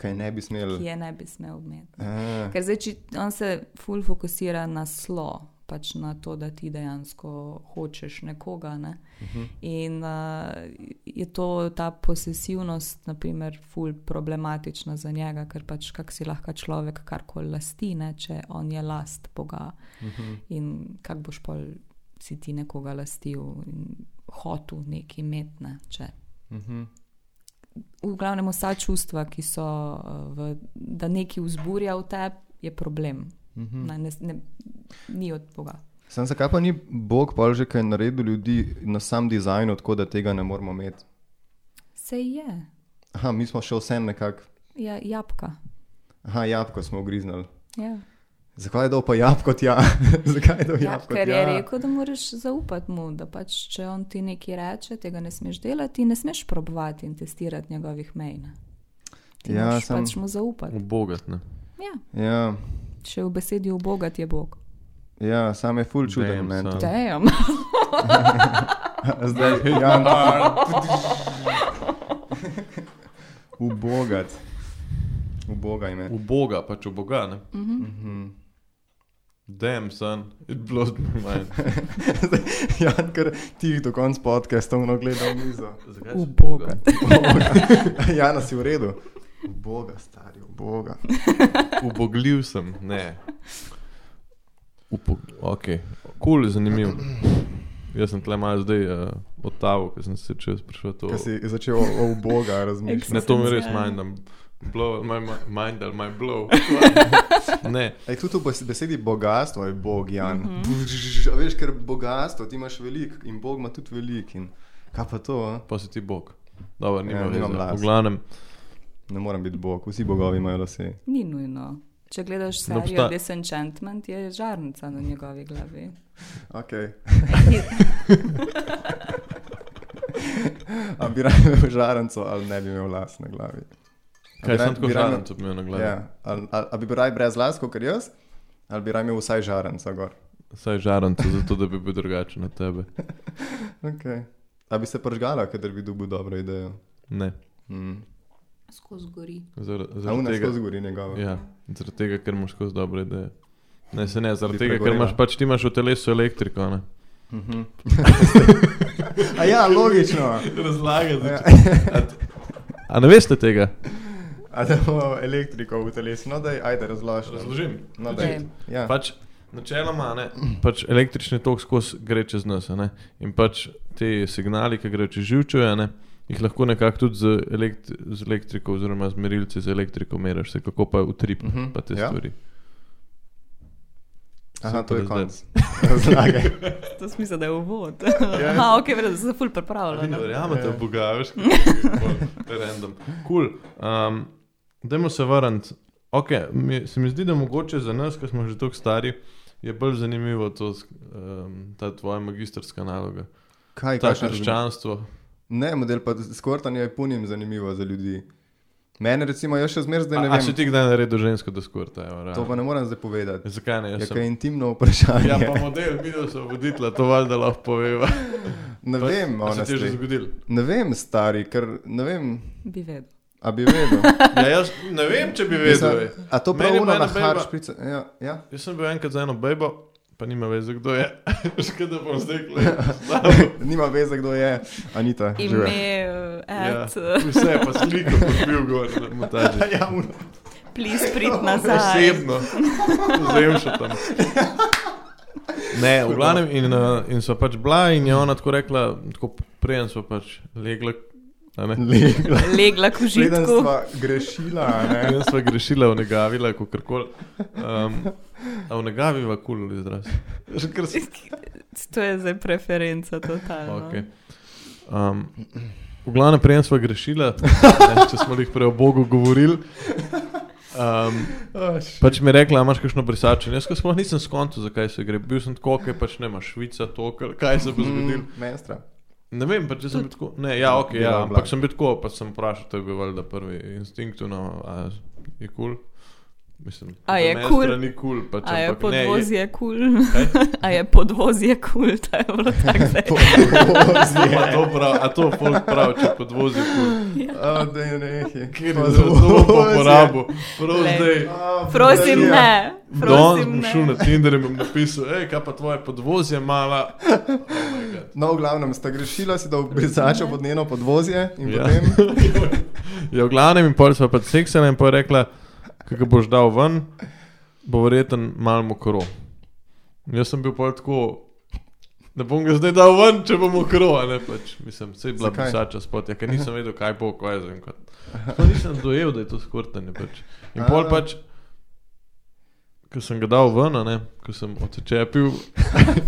Kaj ne bi smel. ki je ne bi smel imeti. Eh, Ker zdaj, če on se ful fokusira na slo, pač na to, da ti dejansko hočeš nekoga. Ne? Uh -huh. In uh, je to ta posesivnost, naprimer, ful problematična za njega, ker pač kak si lahko človek karkoli lasti, ne? če on je last Boga. Uh -huh. In kak boš pol si ti nekoga lastil in hotel neki metne, če mhm. v glavnem vsa čustva, ki so, eh, v, da nekaj vzburja v tebi, je problem. Mm. Ne, ne, ne, ni od Boga. Sam zakaj pa ni Bog pa že kaj naredil ljudi na sam dizajn, tako da tega ne moramo imeti? Se je, Aha, mi smo še vsem nekako, ja, jabka. aha, jabko smo ugriznili. Ja. Zakaj je dal pa jabko tja? zakaj je dal Ja, jabko ker je tja? rekel, da moraš zaupati mu, da pač, če on ti nekaj reče, tega ne smeš delati, ne smeš probovati in testirati njegovih mej. ne. Ti Ja, ja, moraš samo- pač mu zaupati. Obogat, ne. Ja, Ja, če v besedi obogat je Bog. ja, sam je ful čuden. Damn, ne, son. to. Dejem. Zdaj ja, no. je Jan. Ubogat. Uboga ime. Mhm. Uboga, pač oboga, ne. Mhm. Damn, son, it blows my mind. Jan, ja, ker ti do konca podcasta ono gledal mizo. Zakaj si Uboga. Jana si v redu. Uboga, stari, uboga. Ubogljiv sem, ne. Upo... Ok, kul, cool, zanimiv. Jaz sem tle malo zdaj uh, odtavo, ker sem se čez prišel to. Ker si začel o o uboga Ne, razmišljati. to mi res Eksistencialno. mindam. Blow, my mi- mind, ali my blow. ne, Ej, tudi v bes- besedi bogatstvo je bog, Jan. Mhm. Mm -hmm. Veš, ker bogatstvo ti imaš velik in bog ima tudi velik. In... Kaj pa to? A? pa si ti bog. Dobro, nima Ja, ja, nimam veze. las. V glavnem, Ne morem biti bog, vsi Mhm. bogovi imajo lase. Ni nujno. Če gledaš serijo obstaja- obsta... Disenchantment, je žarnica na njegovi glavi. Okay. A bi raje imel žarenco ali ne bi imel las na glavi? A kaj bi raje- sem tako bi raje- žalen, to bi imel na glavi. Ja, ali, ali, ali bi raje brez las kot jaz, ali bi raje imel vsaj žarenco gor. Saj žaren, to zato da bi bil drugačen od tebe. Okay. A bi se pržgala, kadar bi dobil dobro idejo. Ne, Mm. Skozi gori. zar- zaradi Zavedam se, tega. kako zgori njegova. Ja, zaradi tega, ker imaš skozi dobre ideje. Ne, se ne, zaradi Bi tega, ker pregorela. imaš pač ti imaš v telesu elektriko. Ne? Mhm. A ja, logično. Razlagati. Ja. A ne veste tega? A da imamo elektriko v telesu, no da je, ajde razloži. Razložim. No, daj. Daj. ja. Pač, načeloma, a ne, pač električni tok skozi gre čez nas. a Ne, in pač te signali, ki grejo čez živčevje, a ne, jih lahko nekako tudi z, elekt z elektriko, oziroma z merilci z elektriko meriš, se kako pa utrip uh Mhm, -huh, pa te ja. ja. stvari. Aha, to je Super, konc. Razlagaj. To smisel, da je uvod. Ja. Ja. Aha, ok, vedno sem se ful no. Ali ne pripravljal. verjamete Ja. v Boga, veš, kako je to random. Kul. Cool. Um, Dajmo se vrniti Okay, mi, se mi zdi, da mogoče za nas, ki smo že tako stari, je bolj zanimivo to, um, ta tvoja magistrska naloga. Kaj, Ta kakšna razlika? krščanstvo. Ne, model pa skortanje je punim zanimivo za ljudi. Mene recimo, jaz še zmeraj zdaj ne A, a si vem. ti kdaj naredil žensko deskurta? To pa ne morem zdaj povedati. E, Zakaj ne? Jaz Je sem- kaj intimno vprašanje. Ja, pa model, videl sem voditla, to valjda lahko poveva. ne To- vem, a se ti je že honestly. zgodil. Ne vem, stari, ker ne vem, bi vedel. a bi vedel. Ja, jaz ne vem, če bi vedel. Mislim, A to Meni prav je bila uno ena na beba- haršpice? Ja, ja. Jaz sem bil enkrat za eno bejbo, pa nima veze, kdo je. Škoda, da bom zdaj gledal. Nima veze, kdo je Anita. Ime, živijo. eh, Ja, ad, vse je pa sliko, kot bil gor na montaži. ja, uno. please prid nazaj. Osebno, zdaj še tam. Ne, v glavnem, in, uh, in so pač bila, in je ona tako rekla, tako prijem so pač legla. a ne. Legla. Legla k Preden užitku. sva grešila, a ne. Jaz sva grešila, onegavila, kako koli. Um, a onegaviva kul cool, izraz. Že Ker si To je zdaj preferenca totalno. Okay. Um, v glavnem, prej smo grešili, ne, če smo jih prej o Bogu govorili. Um, pač mi je rekla, "A imaš kakšno brisačo. In Jaz ko sploh nisem skonto, zakaj se gre. Bil sem tako, kaj pač ne imaš, Švica, to, kar- kaj se bo zgodilo. Mm, Menstra. Ne vem, pač jaz sem bil tako. Ne, ja, ok, Bila ja, je ampak bila. sem bil tako, pa sem vprašal, to je bil valjda prvi instinktivno, a je kul. Cool? Mislim, A za je mene kul? strani kul, pač, A je ampak ne, je- podvozje kul? Kaj? A je podvozje kul? To je bilo tako zdaj. A to prav, a to folk prav, če podvozi kul. A, daj, nehaj. Ker Pa je zelo zelo zvozi. uporabil, prav Glej. zdaj. A, Prosim, Marija. ne. Danes Prosim, bom ne. šel na Tinder in bom napisal, hej, kaj pa tvoje podvozje, mala. No, v glavnem sta grešila, si da obrisača pod njeno podvozje in Ja. ja. potem Ja, v glavnem in pol sva pa seksala in pa rekla, kaj ga boš dal ven, bo verjeten mal mokro. In jaz sem bil pol tako, da bom ga zdaj dal ven, če bo mokro, a ne pač. Mislim, sej bila Zakaj? pisača spot, ja, ker nisem vedel, kaj bo, ko je zem kot. Sploh nisem dojel, da je to skortanje pač. In pol A. pač, ko sem ga dal ven, a ne, ko sem odčepil,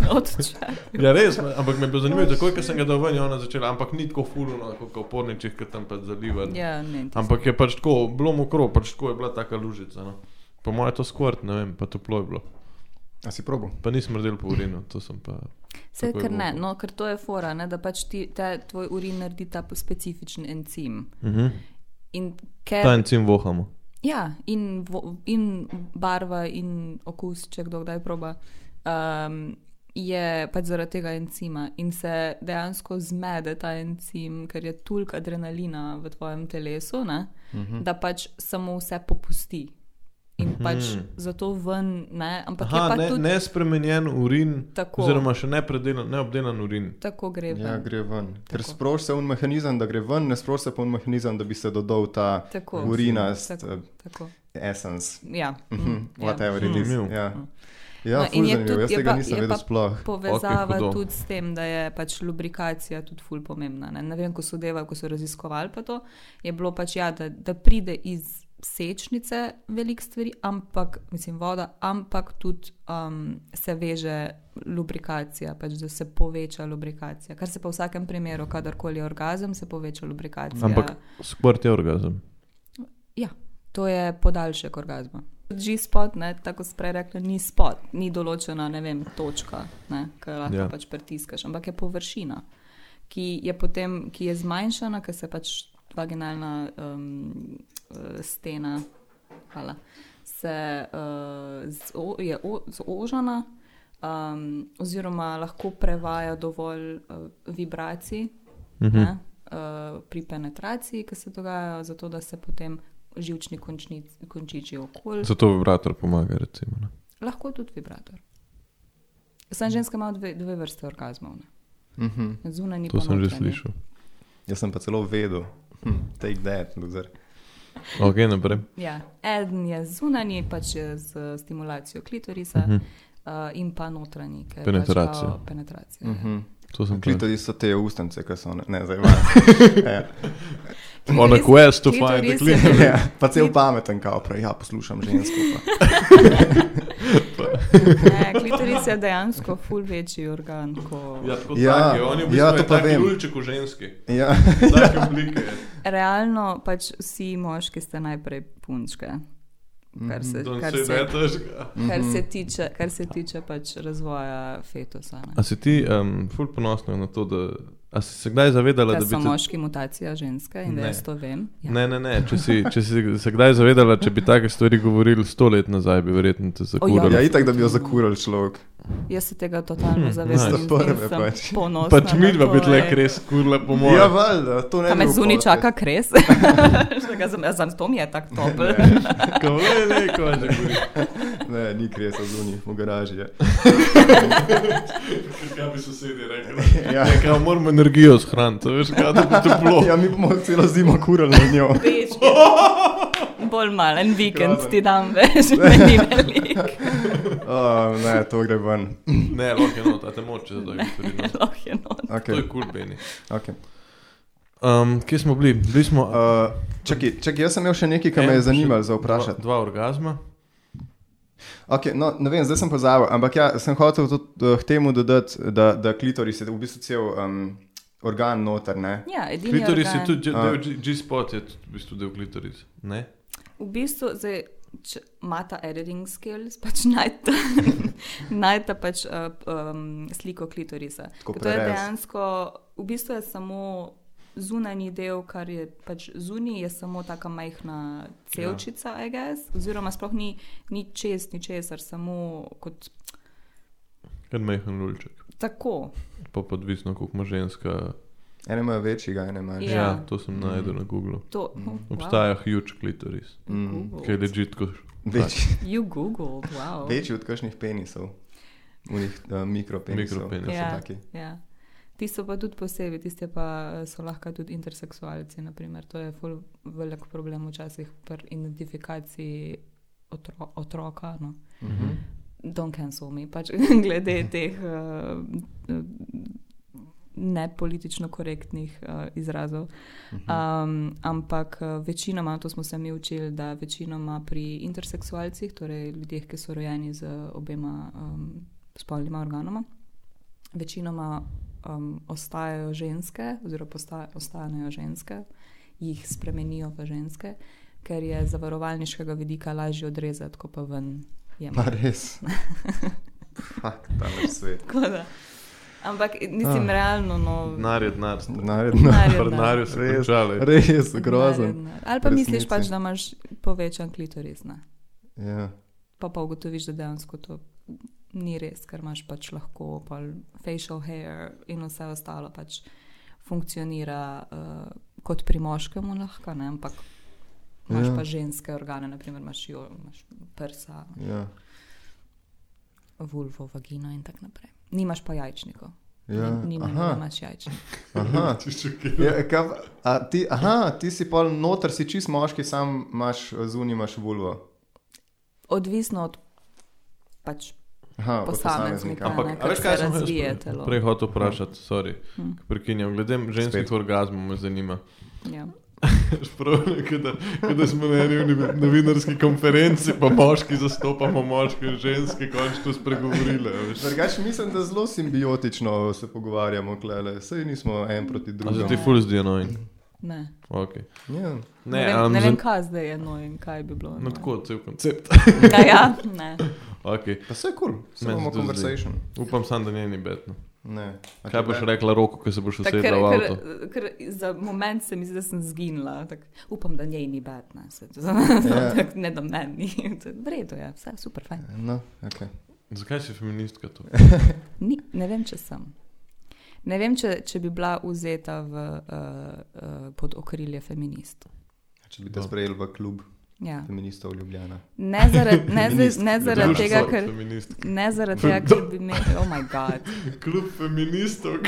Odčak. Ja, res, me- ampak me je bilo zanimivo, takoj, ko sem ga dal ven, je ona začela, ampak ni tako fulano, kot v oporničih, ki tam pač zaliva. Ja, ne. tisto. Ampak je pač tako, bilo mokro, pač tako je bila taka lužica. No. Po mojem je to skvart, ne vem, pa toplo je bilo. A si probo. Pa nisem naredil po urinu, to sem pa. Vse, Tako je ker ne, bilo. no, ker to je fora, ne, da pač ti, ta, tvoj urin naredi ta specifičen encim. Uh -huh. In Ta ker, encim vohamo. ja, in, vo, in barva, in okus, če kdo kdaj proba, um, je pač zaradi tega encima. In se dejansko zmede ta encim, ker je toliko adrenalina v tvojem telesu, ne, uh Mhm. -huh. da pač samo vse popusti. In pač uh -huh. zato ven, ne, ampak je Aha, pa ne, tudi nespremenjen urin, Tako. oziroma še nepredelan, neobdelan urin. tako gre. Ja, ven. gre ven. Ker sproš se un mehanizem, da gre ven, ne sproš se pa un mehanizem, da bi se dodal ta Tako. urinast Tako, eh, tako. essence. Ja. Mhm, ja. Whatever it is. Zanimivo. Ja, No, ja in ful je zanimivo, tudi- jaz je tega pa- nisem je vedel pa sploh. Ok, Povezava hudo. okay, tudi s tem, da je pač lubrikacija tudi ful pomembna. Ne, ne vem, ko so deva, ko so raziskovali pa to, je bilo pač ja, da, da pride iz sečnice velik stvari, ampak, mislim, voda, ampak tudi um, se veže lubrikacija, pač da se poveča lubrikacija. Kar se pa v vsakem primeru, kadarkoli je orgazem, se poveča lubrikacija. Ampak skvart je orgazem. Ja, to je podaljšek orgasma. G-spot, ne, tako kot sem prej rekla, ni spot, ni določena ne vem, točka, ki jo lahko Ja. yeah. pač pritiskaš, ampak je površina, ki je, potem, ki je zmanjšana, ker se pač vaginalna um, eh, stena hvala, se, uh, z, o, je o, zožana, um, oziroma lahko prevaja dovolj uh, vibracij Mhm. ne, uh, pri penetraciji, ki se dogajajo, zato da se potem živčni končnic, končiči okoli. Zato vibrator pomaga, recimo. no. Ne. Lahko tudi vibrator. Sam ženska ima dve, dve vrste orgasmov. Mhm. ne. Zunanji To pa sem že notranji. slišal. Jaz sem pa celo vedel. Hm, take that, loser. Ok, naprej. Ja. Eden je zunanji, pač je z stimulacijo klitorisa, uh Mhm. -huh. uh, in pa notranji, ki je Penetracija. Pač kao penetracija. Uh -huh. Mhm. To sem prej. Klitoris so te ustnice, ki so ne, ne zdaj vas. ja. On a quest to find the klitoris clean. je- ja, pa cel pameten, kao prej, ja, poslušam žensko. Pa. Ne, klitoris je dejansko ful večji organ. Ko... Ja, tako Ja, tak je. On je v bistvu ja, to en pa tak vem. lulček v ženski. Ja. Take oblike je. Realno pač vsi moški ste najprej punčke. kar se, Don't kar say se, that, veš, ga. kar se Mhm. tiče, kar se tiče pač razvoja fetusa. Ne. A si ti um, ful ponosna na to, da a si se kdaj zavedala, Da da bi so te... moški mutacija ženska in da Ne. jaz to vem. Ja. Ne, ne, ne. Če si, če si se kdaj zavedala, če bi take stvari govorili sto let nazaj, bi verjetno te zakurili. Ja, itak, da bi jo zakuril človek. Jaz se tega totalno nice. zavedam. in s tem Prve sem pač. Ponosna. Pač na mi dva to, bi tle ej. res kurla po Ja, mojem. valjda, to ne Kaj bi me bil zunaj podcast. čaka kres? Še ga zam- zam- to mi je tako toplo. Kako je neko, že gori. Ne, ni kresa zunaj, v garaži ja. je. Kaj bi sosedi rekli? Ja. Ja, moramo energijo shraniti, a veš, kaj da bo toplo. Ja, mi bomo celo zimo kurili na njo. Bolj malen vikend Kraven. ti dam več, meni velik. Oh, ne, to gre ven. Ne, loke not, a te moče za tako stvari. no. Lahko je noč. To Okay, je kul, Beni. okay. Um, kje smo bili? Bili smo... Uh, čakaj, čakaj, jaz sem imel še nekaj, kar me en, je Eh, še zanimalo za Dva, vprašati. dva orgazma. Okay, no, ne vem, zdaj sem pozabil, ampak ja, sem hotel tudi eh, k temu dodati, da, da klitoris je v bistvu cel um, organ noter. Ne? Ja, edini Klitoris organ. je tudi, A. del G- G-spot je tudi v bistvu del klitoris. Ne? V bistvu zdaj, če imata editing skills, pač najdete najdete pač, uh, um, sliko klitorisa. Tako Ker To je prerez. dejansko, v bistvu je samo zunanji del, kar je pač zunaj, je samo tako majhna celčica, ja. guess, oziroma sploh ni, ni čest, ni česar, samo kot Ker majhen lulček. tako. Pa podvisno, koliko ima ženska. Ene imajo večjega, ene imajo Ja, Ja. manjšega. ja to sem najdel na Google. To, mm. Obstaja wow. huge klitoris, Wow. ki je ležit kot. Večji, You googled, wow. večji od kakšnih penisov. Unih, uh, mikropenisov. Mikropenisov. ki so Ja, taki. ja. Ti so pa tudi posebej, tiste pa eh, so lahko tudi interseksualci. Naprimer. To je ful velik problem včasih pri identifikaciji otro, otroka. No. Mhm. Don't cancel me, pač glede teh uh, nepolitično korektnih uh, izrazov. Um, ampak eh, večinoma, to smo se mi učili, da večinoma pri interseksualcih, torej ljudeh, ki so rojeni z obema um, spolnima organoma, večinoma um, ostajajo ženske, oziroma posta, ostanejo ženske, jih spremenijo v ženske, ker je z zavarovalniškega vidika lažje odrezati, kot pa ven Ma jemati. res. Fak, tam je svet. Tako da. Ampak mislim, Ah. ah, realno, no, Denar je denar. sta. Naredno. Denar je denar. Pri denarju se Res. končale. Res grozen. naredno. Ali pa v misliš resnici. pač, da imaš povečan klitoris. Ne? Ja. pa pa ugotoviš, da dejansko to ni res, ker imaš pač lahko pol facial hair in vse ostalo pač funkcionira uh, kot pri moškem, lahko, ne? ampak imaš Ja. ja. pa ženske organe, naprimer imaš, jo, imaš prsa, Ja. vulvo, vagino in tako naprej. Nimaš pa jajčnikov. Ja. Ni- Nimaš, Aha. nimaš jajčnikov. Aha. Ja, kaj, pa- a, ti, aha, ti si pol noter, si čist moški, sam imaš zunaj, imaš vulvo. Odvisno od pač Aha, od posameznika, posameznika. Ampak, Ja, ne, a ker veš, se kaj sem jaz razvije telo. Prej hotel vprašati, sorry, Hm, ke prekinjam. Glede ženskih Spet. orgazmov me zanima. Ja. Kada smo na eni novinarski konferenci, pa moški zastopamo moške in ženske, končno spregovorile. a veš. Drugač mislim, da zelo simbiotično se pogovarjamo, klele. Sej nismo en proti A se drugemu. ti ful zdi annoying? Ne. Okay. Ja. Ne, ne vem, um, ne vem kaj zdaj je no in kaj bi bilo. No, no. tako cel koncept. Ja, ja, ne. Okay. Pa vse je kul, cool. Meni se samo tudi conversation. Upam sam, da njeni betno. Ne. A Kaj ti boš ne? rekla roko, ko se boš Tako, ker, usedla v avto? ker, ker za moment se mi zdi, da sem zginila. Tak, upam, da njej ni bed, ne, se, to, Ja. tak, ne da meni. To je V redu je, vse super, fajn. No, okay. Zakaj si feministka to? Ni, ne vem, če sem. Ne vem, če, če bi bila vzeta v, uh, uh, pod okrilje feminist. Če bi te Dobro. sprejeli v klub Ja. feministov Ljubljana. Ne zaradi ne za- ne zaradi Društvo tega, ker. Feminist. Ne zaradi tega, ker bi me. Oh, moj bog. Klub feministov.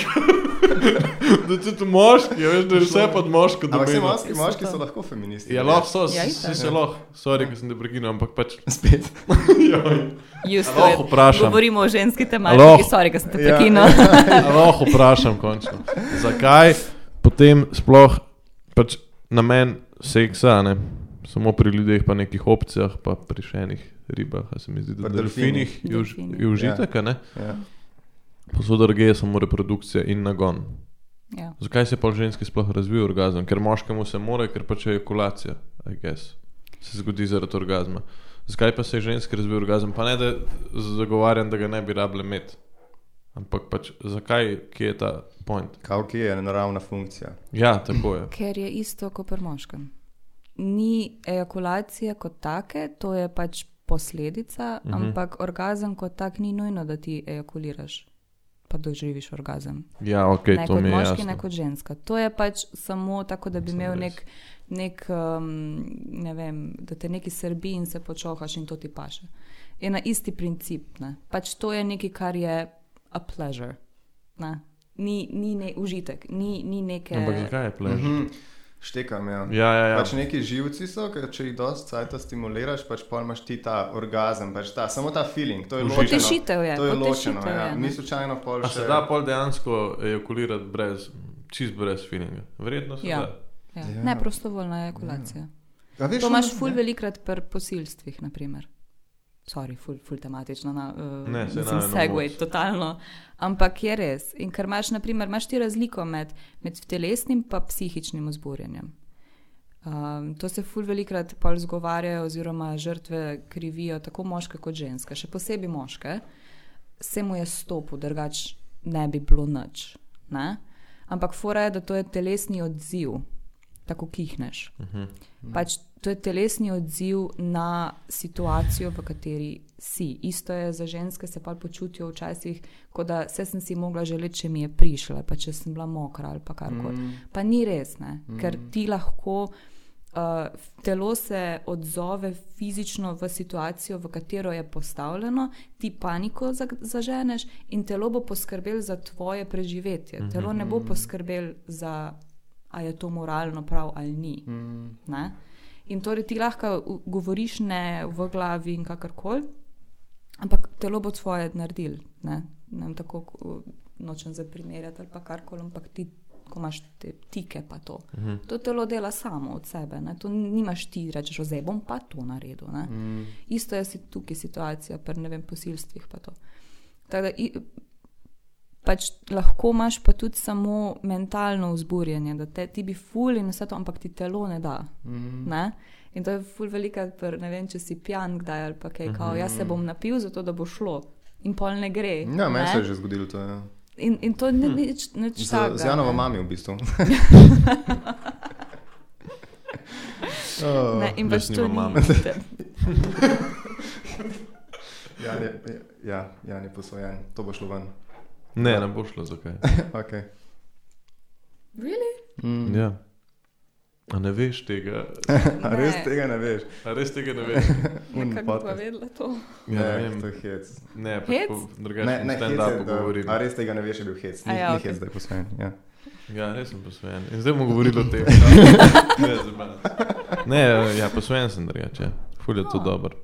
da tudi moški, a veš, da je vse pod moško Ampak vse domeno. moški, moški so lahko feministi. Ja, lahko so, Ja, si itak. se lahko. Sorry, ker sem te prekinil, ampak pač. Spet. Joj. A Torej, Lahko vprašam. Govorimo o ženski Aloh. tematiki, sorry, ker sem te Ja. prekinila. A Lahko vprašam končno. Zakaj potem sploh pač namen seksa, a ne? samo pri ljudeh, pa nekih opcijah, pa pri še enih ribah, a se mi zdi, da Pri pri delfinih delfinih. je už- Delfinih. je užitek, a ne? Ja. Posod druge je samo reprodukcija in nagon. Ja. Zakaj se pa ženski sploh razvija orgazem? Ker moškemu se more, ker pač je ejakulacija, I guess. se zgodi zaradi orgazma. Zakaj pa se ženski razvije orgazem? Pa ne, da zagovarjam, da ga ne bi rabile imeti. Ampak pač, zakaj, kje je ta point? Kaj ki je naravna funkcija? Ja, tako je. Ker je isto kot pri moškem. Ni ejakulacije kot take, to je pač posledica, mm -hmm. ampak orgazem kot tak ni nujno, da ti ejakuliraš, pa doživiš orgazem. Ja, ok, ne to kot mi je moški, jasno. ne kot ženska. To je pač samo tako, da bi Mislim, imel res. nek, nek um, ne vem, da te neki srbi in se počohaš in to ti paše. Je na isti princip. Ne? Pač to je nekaj, kar je a pleasure. Ne? Ni, ni ne, užitek, ni, ni neke. Ampak zakaj je plež? Mhm. Štekam, ja. Ja, ja, ja. Pač neki živci so, ker če jih dosti cajta stimuliraš, pač pa imaš ti ta orgazem, pač ta, samo ta feeling, to je Užitek. ločeno. Potešitev je, To je ločeno, potešitev ja. je, ne. Ni slučajno pol A še. se da pol dejansko ejakulirati brez, čist brez feelinga? Verjetno se Ja. da. Ja. Ja. Ne prostovoljna ejakulacija. A veš, no, To ne? imaš ful velikrat pri posilstvih, naprimer. Sorry, ful, ful tematično, na, uh, Ne, saj mislim, najeno moč. segway, totalno. Ampak je res. In ker imaš, naprimer, imaš ti razliko med, med telesnim in psihičnim ozborjenjem. Um, to se ful velikrat pol zgovarjajo, oziroma žrtve krivijo tako moške kot ženske, še posebej moške. Se mu je stopil, drugač ne bi bilo nič. Ne? Ampak fora je, da to je telesni odziv, tako kihneš. Uh -huh. Pač to je telesni odziv na situacijo, v kateri si. Isto je za ženske, se pa počutijo včasih, kot da se sem si mogla želeti, če mi je prišla, pa če sem bila mokra ali pa karkoli. Mm. Pa ni res, ne? Mm. ker ti lahko. Uh, telo se odzove fizično v situacijo, v katero je postavljeno, ti paniko za- zaženeš, in telo bo poskrbelo za tvoje preživetje. Telo ne bo poskrbelo za, ali je to moralno prav ali ni. Mm. Ne? In torej ti lahko v- govoriš ne v glavi in kakorkoli, ampak telo bo svoje naredil. Ne? Ne vem, tako ko- nočem za primerjati ali pa karkoli, ampak ti, ko imaš te tike, pa to. Mhm. To telo dela samo od sebe, ne? to nimaš ti, rečeš, ozaj bom pa to naredil. Mhm. Isto je si tukaj situacija, pri ne vem, posilstvih pa to. Tako da i- pač lahko imaš pa tudi samo mentalno vzburjenje, da te, ti bi ful in vse to, ampak ti telo ne da. Mhm. Mm. Ne? In to je ful velika, pr, ne vem, če si pijan kdaj ali pa kaj, mm -hmm. kao, jaz se bom napil, zato da bo šlo. In pol ne gre. Mhm. Ja, meni se je ne? že zgodilo to. Ja. In, in to ni nič, nič Z, takega. z Janovo ne. mami v bistvu. Oh. Ne, in pač Jaz to nimam ni. mame. Jan je, ja, Jan je posvojen, to bo šlo ven. Ne, ne bo šlo zakaj. Okay. really? Mm. Ja. A ne veš tega, A res tega ne veš. a res tega ne veš. Un Kako Ja, bi pa podcast. vedela to? Ja, ne, to vem, je hec. ne, Hec? pač drugače ne stand up govorim. da, a res tega ne veš, je bil hec. Ni, A ja, ja, ni okej. hec, da je posvojen. Ja. Ja, res sem posvojen. In zdaj bomo govorili o tem. no. ne, zabavno. ne, ja, posvojen sem drugače. ja. Ful je to No. dobro.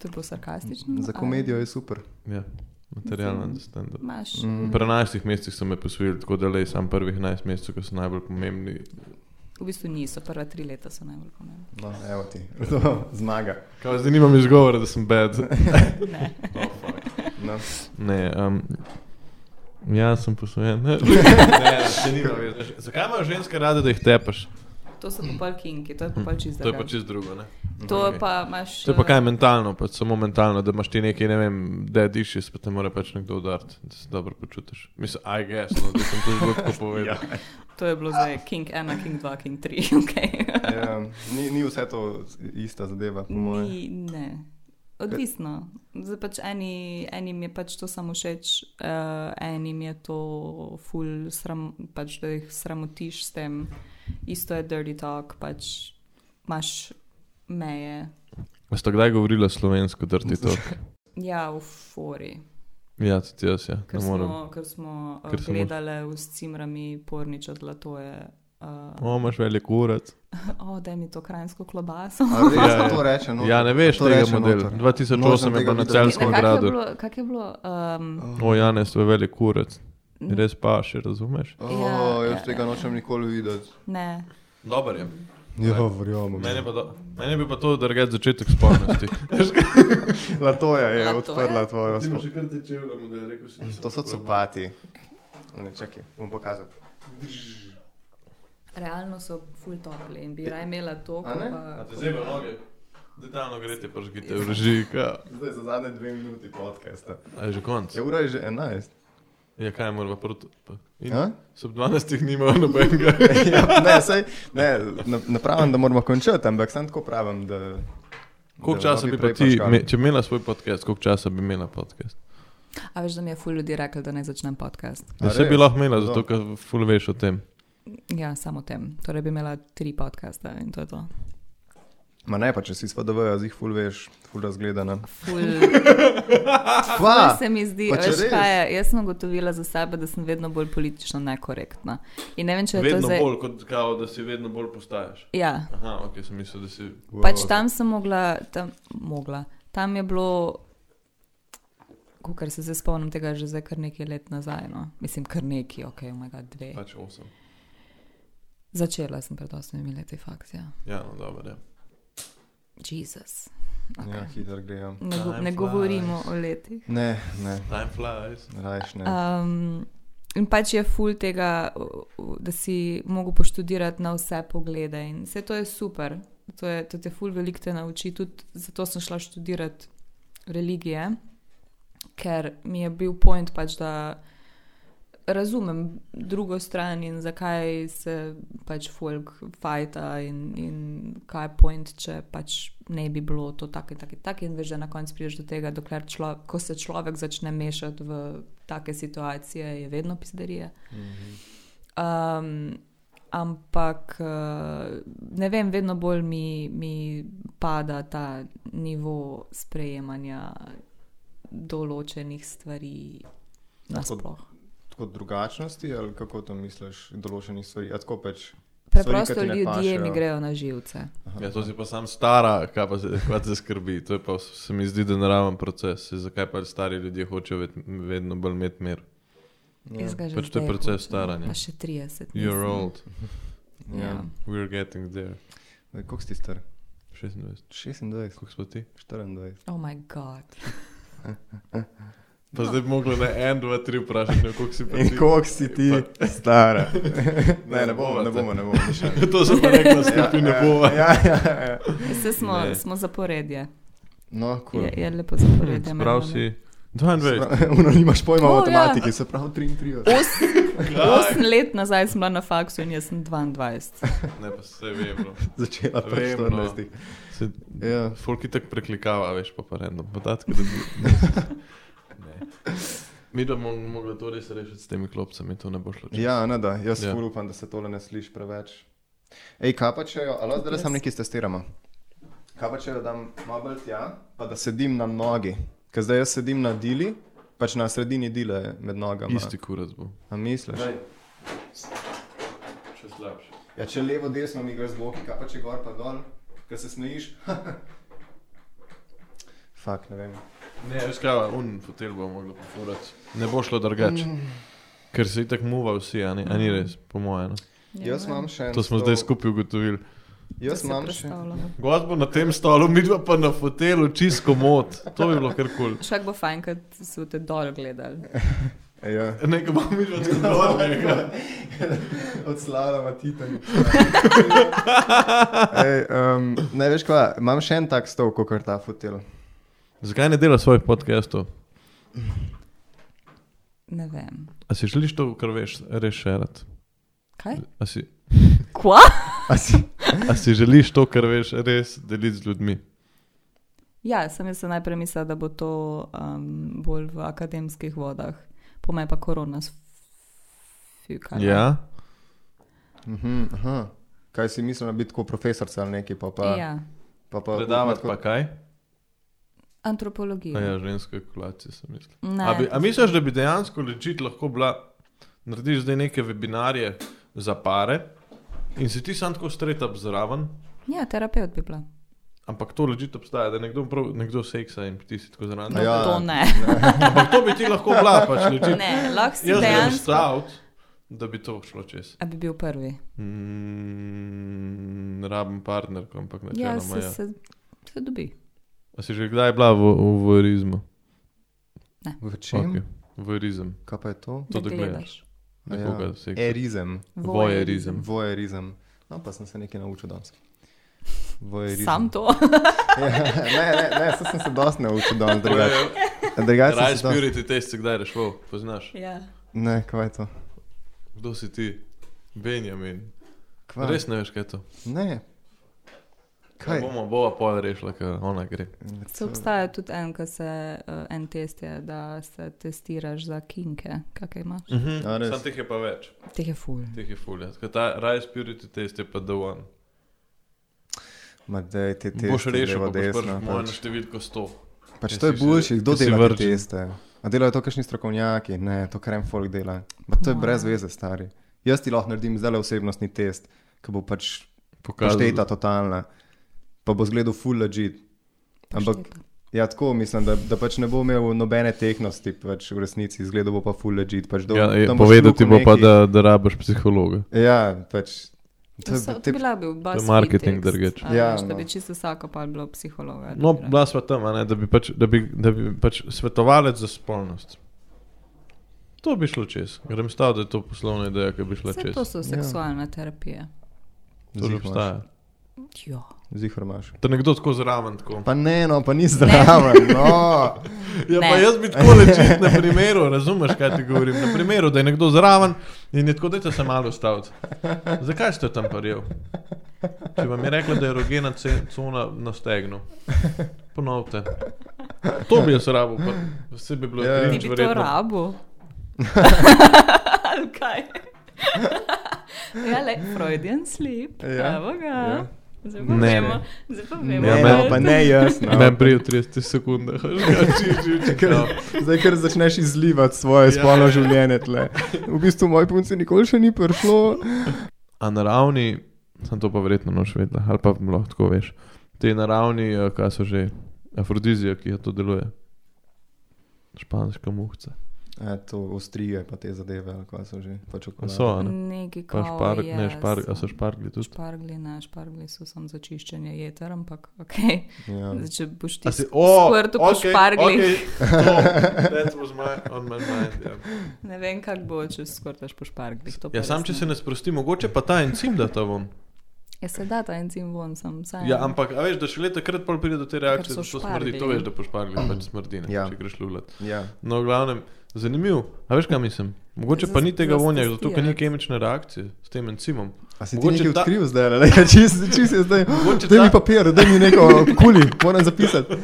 To je bilo sarkastično. Za ali- komedijo je super. Ja, materialno za stand up. Imaš. Mm. Pri 11 mesecih so me posvojili, tako da le sam prvih 11 mesecev, ko so najbolj pomembni. V bistvu niso, prva tri leta so najbolj pomembna. No, evo ti. To zmaga. Kaj, zdaj nimam izgovora, da sem bed. Ne. No. Ne, um, ja, sem posvojen. ne, ne, se nima več. Zakaj imajo ženske rade, da jih tepeš? To so pa pol kinki, to je pa pol čisto. To je pa čist drugo, ne? To pa imaš. To je pa kaj eh, mentalno, pač samo mentalno, da imaš ti nekaj, ne vem, da dišiš, pa te mora pač nekdo udariti, da se dobro počutiš. Mislim, I guess, no, da sem to že lahko povedal. Ja. To je bilo zdaj King 1, King 2, King 3. Okay. Ja, ni, ni vse to ista zadeva, po mojem. Ni, ne. Odvisno. Zdaj pač eni, enim je pač to samo všeč, uh, enim je to ful, sram, pač, da jih sramotiš s tem. Isto je dirty talk, pač imaš meje. A Ste kdaj govorili slovensko, drti to? Ja, v fori. Ja, tudi jaz, ja. Ker Ne morem. smo, ker smo Ker ker sem- gledali v cimrami pornič od Latoje. Uh, O, imaš velik urad. o, oh, da mi to krajinsko klobaso. A res Ja, ja. to reče, no. Ja, ne veš to tega reče modela. noter. 2008 Nočem je tega bilo na videti. Celjskem Ne, Kako je gradu. bilo? Kak je bilo um, O, Janez, to je velik urad. Res pa, še razumeš? O, Ja, jaz ja, tega ja. nočem nikoli videti. ne, Dober je. Ja, verjamem. Mene, pa do, mene bi pa to drugače začetek spolnosti. Latoja je Latoja? odprla tvojo spolnost. že kar tečeval, da je rekel, To so copati. Ne, čakaj, bom pokazal. Realno so full topli in bi raje imela to, A kot ne? A te pa. zebe noge? Detaljno greš, te pržgite v reži. Zdaj za zadnje dve minuti podcasta. A je že konc? Je ura je že 11. Ja, kaj moramo proti? pa- In A? Sub 12 nimajo nobenega. ja, ne, sej, ne, ne, ne pravim, da moramo končati, ampak sem tako pravim, da... Koliko da časa ne bi pa prej pač ti, pačkali. me, če bi imela svoj podcast, koliko časa bi imela podcast? A veš, da mi je full ljudi rekel, da naj začnem podcast. Ja, A se bi res? lahko imela, Zato. zato ker ful veš o tem. Ja, samo o tem. Torej bi imela tri podcaste in to je to. Ma ne, pa če si SPDV, zih ful veš, ful razgledana. Full. Kva? To se mi zdi, pa če veš res? kaj je. Jaz sem ugotovila za sebe, da sem vedno bolj politično nekorektna. In ne vem, če je to zdaj. kot kao, da si vedno bolj postaješ. Ja, Aha, ok, sem mislil, da si. Wow. pač tam sem mogla, tam, mogla. tam je bilo, kar se zdaj spomnim tega, že zdaj kar nekaj let nazaj. No. Mislim, kar nekaj, ok, omega dve. Pač 8. Začela sem pred osmimi leti, fakt, ja. Ja, no, dobro. Ja. Jezus. Ja, Okay. hitro grejo. Ne, go, Time ne flies. govorimo o letih. Ne, ne, Time flies. rajš ne. Um, in pač je ful tega, u- u- da si mogel poštudirati na vse poglede. In vse to je super, to, je, to te ful veliko te nauči. Tudi zato sem šla študirati religije, ker mi je bil point pač, da razumem drugo stran in zakaj se pač folk fajta in, in kaj je point, če pač ne bi bilo to tako in tako in tako in veš, da na koncu prideš do tega, dokler človek, ko se človek začne mešati v take situacije, je vedno pizderija. Um, ampak eh, ne vem, vedno bolj mi, mi pada ta nivo sprejemanja določenih stvari nasploh. Tako drugačnosti ali kako to misliš, določenih stvari? A tako pač. Preprosto stvari, ki ti ne ljudje pašejo. mi grejo na živce. Ja, to si pa sam stara, kaj pa se, kaj te skrbi. To je pa, se mi zdi, da naraven proces. Saj Zakaj pa stari ljudje hočejo ved, vedno bolj imeti mir? ja, Jaz ga že Pač to je zdaj proces hočem. staranja. Pa še 30. You're nisem. old, Ja. Ja. we're getting there. Zdaj, Koliko si ti star? 26. 26, Kako smo ti? 24. Oh moj bog. Pa zdaj bi moglo na en, dva, tri vprašati, ne, koliko si pa ti. In koliko si ti stara? ne, ne bomo, ne bomo, ne bomo. to sem pa rekel, skupaj ne bo. Ja, ja, ja. Vse smo, Ne. smo zaporedje. No, kul. Je, je lepo zaporedje. med Hmm, Prav nami. si 22. Uno nimaš pojma o O, ja. matematiki, se pravi Ja. 33. Os- Osem let nazaj sem bila na faksu in jaz sem 22. Ne, pa se vem. bro. Začela pri Vem, no. 14. Se, Ja. Folk je tako preklikava, veš, pa pa random podatke dobi. Ne. Mi da bomo mogli to res rešiti s temi klopcami, to ne bo šlo. čez. Ja, ne da, jaz Ja. ja. upam, da se tole ne sliši preveč. Ej, kaj pa če jo, ali zdaj le sam nekaj testiramo? Kaj pa če jo dam malo bolj tja, pa da sedim na nogi, ker zdaj jaz sedim na dili, pač na sredini dile med nogama. Isti kurac bo. A misliš? Še slabše. Ja, če levo, desno mi greš z boki, kaj pa če gor pa dol, ker se smejiš. Fak, ne vem. Ne, veš kaj, un fotel bo moglo pofurati. Ne bo šlo drugače. Mm. Ker se itak muva vsi, a ni, a ni res, po mojem. No. Jaz Ja, imam še en. To smo stol. zdaj skupaj ugotovili. Jaz imam še. Gost bo na tem stolu, midva pa na fotelu, čisto mod. To bi bilo kar kul. Cool. Šak bo fajn, kad so te dol gledali. Ja. Nekaj bomo mi že odgovorili. Od slaloma Titan. Ej, um, ne veš kva, imam še en tak stol, kot ta fotel. Zakaj ne dela svojih podcastov? Ne vem. A si želiš to, kar veš, res šerati? Kaj? A si, Kva? A si- a si želiš to, kar veš, res deliti z ljudmi? Ja, sem jaz najprej mislila, da bo to um, bolj v akademskih vodah. Po me je pa korona s- fukala. Ja, Mhm, aha. Kaj si mislila biti kot profesorica ali nekaj? Pa, pa, ja. pa, pa, predavati pa kaj? Antropologija. A ja, ženske kulacije sem mislil. Ne, A, bi, a misliš, da bi dejansko lečit lahko bila, narediš zdaj neke webinarje za pare in si ti sam tako straight up zraven, ja, terapeut bi bila. ampak to lečit obstaja, da nekdo, prav, nekdo seksa in ti si tako zraven. No, Ja. ja. To ne. Ampak to bi ti lahko bila, pač lečit. ne lahko si Jaz sem dejansko. stal, da bi to šlo čez. A bi bil prvi. Mm, rabim partnerko, ampak ne Ja, čeloma. se, Ja. se, se dobi. A si že kdaj bila v, v vorizmu? V čem? Okay. Vorizem. Kaj pa je to? To, da Da gledaš. gledaš. nekoga ja. seksa. E, Erizem. Voyerizem. Voyerizem. No, pa sem se nekaj naučil danes. Voyerizem. Sam to. Ja, ne, ne, ne, saj sem se dosti naučil danes. drugače. Voyeur- Drugače sem Raj se dosti- spiriti test, si kdaj rešil, poznaš. ja. Ne, kaj je to? Kdo si ti? Benjamin. Kva? Res ne veš, kaj je to. Ne. Kaj? Kaj bomo bova pol rešila, ker ona gre. Se obstaja tudi en, ki se eh, en test je, da se testiraš za kinke, kakaj imaš. Mhm. A, res? Sam teh je pa več, Teh je ful. teh je fulja. Tako Ta Raj spiriti test je pa the one. Ma dej, te teste. boš rešil, levo, pa boš desno, prišel moja na pač. številko 100. Pač Ja, to je si se- boljši, kdo si dela te virgin. teste. A delajo to kakšni strokovnjaki, ne, to krem folk dela. Ma to je Wow. brez veze, stari. Jaz ti lahko naredim zdaj osebnostni test, ki bo pač Pokazal- pošteta totalna, pa bo zgledal full legit. Ampak Pašteta. ja, tako mislim, da, da pač ne bo imel nobene tehnosti, pač v resnici zgledal bo pa full legit. Pač do, Ja, je- tam boš povedal ti lukal bo pa, neki- da, da rabiš psihologa. Ja, pač. To To je so, te- te, bila bi bila To je marketing drugače. Ja, Ja, veš, da no. bi čisto vsaka pa bila psihologa. No, da bi bila sva tam, a ne, da, bi pač, da, bi, da bi pač svetovalec za spolnost. To bi šlo čez. Grem stav, da je to poslovna ideja, ki bi šla rekla. Saj čez. Ja. to so seksualne terapije. To že obstaja. Jo. Zihar imaš. Da nekdo tako zraven tako. Pa ne, no, pa ni zdraven. No. Ja, Ne. pa jaz bi tako lečil na primeru, razumeš, kaj ti govorim. Na primeru, da je nekdo zraven in je tako, da se malo ustavite. Zakaj ste tam paril? Če vam je rekla, da je erogena ce- cona na stegnu, ponovite. To bi jaz rabil, pa vse bi bilo Ja, ja. ja, Ti nič bi to verjetno. rabo. Ali kaj? ja, le, Freudian sleep. Ja, Ja. Evo ga. ja. Ja. Zdaj pa Ne, vemo. ne. Zdaj pa Ne, vemo. Ja, no, meni- pa ne jaz. No. Meni prije v 30 sekundah, Ja, že Ker, zdaj, ker začneš izlivati svoje no. Ja, spolno ja, ja. življenje tle. V bistvu moj punci nikoli še ni prišlo. A na ravni, sem to pa verjetno noč vedela, ali pa lahko tako veš. Te naravni, eh, kaj so že, afrodizija, ki jo to deluje. Španska muhca. E, to ostrije pa te zadeve, ali kaj so že. pač Pa A so, a ne? Neki Pa kot šparg, ne šparg, a so špargli tudi. Špargli, ne, špargli so samo za čiščenje jeter, ampak ok. Ja. Zdaj, če boš ti A si- o, skvrtu po okej, šparglih, okej, to, that was my- on my mind, ja. ne vem, kako bo, če skvrtaš po šparglih. to pa Ja, sam res če se ne sprosti, mogoče pa ta encim da ta von. Ja, se da ta encim ven, sem sam. Ja, ampak a veš, da šele takrat pol pride do te reakcije, da so to šparglji. smrdi. To veš, da po šparglih pač smrdi, ne, Ja. če greš lulat. Ja. No, v glavnem, zanimiv. A veš, kaj mislim? Mogoče pa ni tega Zas- vonja, zato ker ni zastestirati. kemične reakcije s tem encimom. A si ti Mogoče nekaj ta- odkril zdaj, ali kaj čist, čist je zdaj? Mogoče Daj mi ta- papir, daj mi neko kuli, moram zapisati.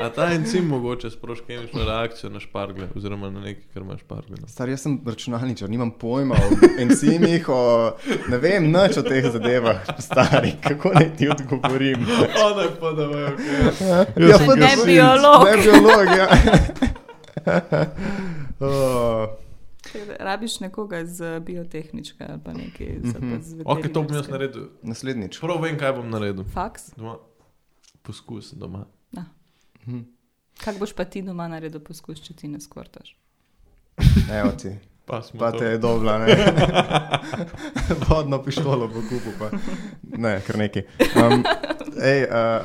A ta encim mogoče sproži kemično reakcijo na špargle, oziroma na nekaj, kar ima špargle. no. Star, jaz sem računalničar, nimam pojma o encimih, o ne vem, nič o teh zadevah, stari, kako naj ti odgovorim. Ona pa da ve, ok. Ja, sem pa ne gasilec, biolog. Ne biolog, ja. oh, Rabiš nekoga z biotehničke ali pa nekaj. Mhm. Mm Ok, to bom jaz naredil. naslednjič. Prav vem, kaj bom naredil. Faks? Doma. Poskus doma. Hm, Kaj boš pa ti doma naredil poskus, če ti ne skvrtaš? Evo ti, Pa smo. pa to. te je dobla, ne. Vodno pištolo bo kupil, pa. Ne, kar neki. Um, ej, uh,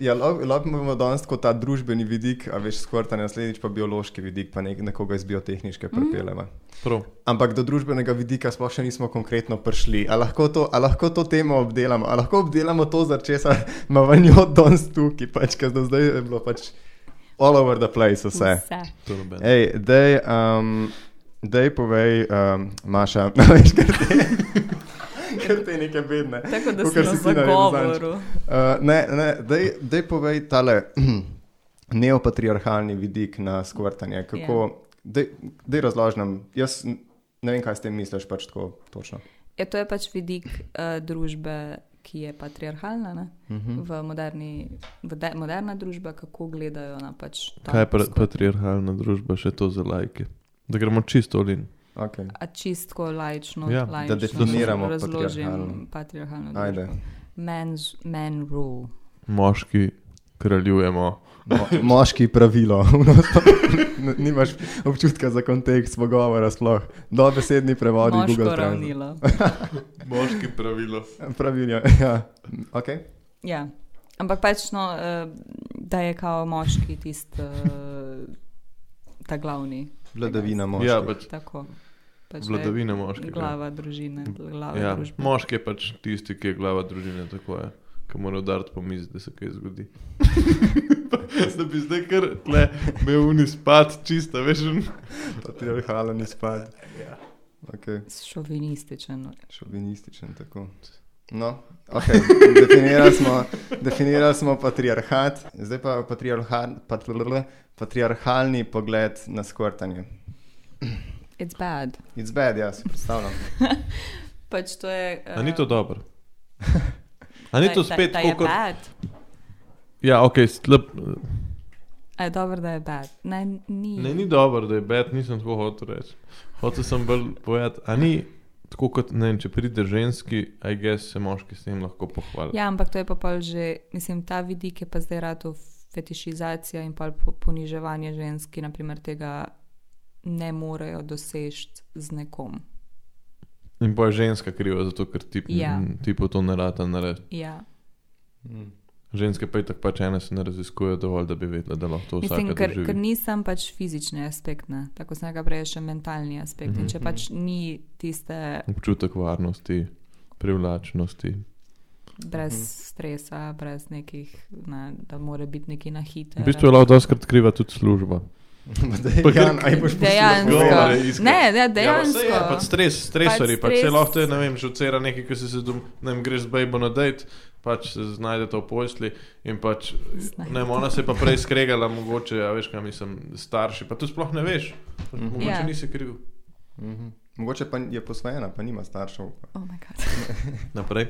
ja, lahko imamo danes tako ta družbeni vidik, a veš, skorta naslednjič pa biološki vidik, pa nek, nekoga iz biotehničke pripeljeva. Prav. Ampak do družbenega vidika sploh še nismo konkretno prišli. A lahko to, a lahko to temo obdelamo, a lahko obdelamo to, zaradi česa imamo njo danes tukaj, pač, ker do zdaj je bilo pač all over the place vse. Vse. To je nobeno. Ej, dej, um, dej povej, um, Maša, veš, ker te, ker te neke bedne. Tako da si Kakor na si ti naredil zagovoru. Uh, ne, ne, dej, dej povej tale neopatriarhalni vidik na skvrtanje. Kako, dej, dej razloži nam, jaz n- ne vem, kaj s tem misliš, pač tako točno. Ja, to je pač vidik uh, družbe, ki je patriarhalna. Ne? Mhm. v moderni, v de, moderna družba, kako gledajo na pač ta Kaj je pa- skor- patriarhalna družba, še to za lajke? Da gremo čisto olin. Okay. A čistko lajčno, ja, Ja, da lajčno definiramo patriarhalno. razložim patriarhalno Ajde. družbo. Men's, men rule. Moški kraljujemo. Mo, moški pravilo. N- Nimaš občutka za kontekst pogovora sploh. Dobesedni prevodi Moško Google Translate. ravnilo. Moški pravilo. Pravilo, ja. Okay. Ja. Ampak pač, no, eh, da je kao moški tisti ta glavni. Vladavina moških. Ja, pač Tako. pač da je Vladavine moškega. Glava družine, glava Ja, družbe. moški je pač tisti, ki je glava družine, tako je. Ki mora udariti po mizi, da se kaj zgodi. da bi zdaj kar tle, me uni spad, čista, veš, on- Patriarhalen izpad. Ja. Okay. Šovinističen. Šovinističen tako. No, okay. definirali, smo, definirali smo patriarhat, zdaj pa patriarhal, patlrl, patriarhalni pogled na skvrtanje. It's bad. It's bad, ja, si predstavljam. Pač to je. A ni to dobro? A ni to spet da, da tako je kot. bad? Ja, ok, slab. A je dobro, da je bad. Ne, ni. Ne, ni dobro, da je bed, nisem tako hotel reči. Hotel sem bolj povedati, a ni tako kot, ne vem, če pride ženski, a gess se moški s tem lahko pohvali. Ja, ampak to je pa pol že, mislim, ta vidik je pa zdaj rado fetišizacija in pa poniževanje žensk, ki naprimer tega ne morejo doseči z nekom. In pa je ženska kriva, zato ker ti, Ja. ti po to ne rata narediti. Ja. Mm. Ženske pa je tako pač ene se ne raziskujejo dovolj, da bi vedele, da lahko to vsaka Mislim, ker, doživi. ker ni sam pač fizični aspekt, ne. tako sem ga prej še mentalni aspekt. Mhm, Mm -hmm. In če pač ni tiste Občutek varnosti, privlačnosti. brez Mhm. mm -hmm. stresa, brez nekih, ne, da mora biti neki na hitro. V bistvu je lahko doskrat kriva tudi služba. Pa kar- Dejan, aj boš Dejansko. Govor poslušal. je iskren. Ne, ne, Ja, pa dejansko. saj je, pač stres, stresori, Pač pač stres. stres. lahko te, ne vem, že včeraj nekaj, ko si se dom, ne vem, greš z bejbo na dejt, pač se znajdete v posli in pač, Znajdeta. ne vem, ona se je pa prej skregala, mogoče, a veš, kaj mislim, starši, pa tu sploh ne veš, pač, Mhm. mogoče Ja. nisi kriv. Mhm. Mogoče pa je posvojena, pa nima staršev. Oh my god. Naprej.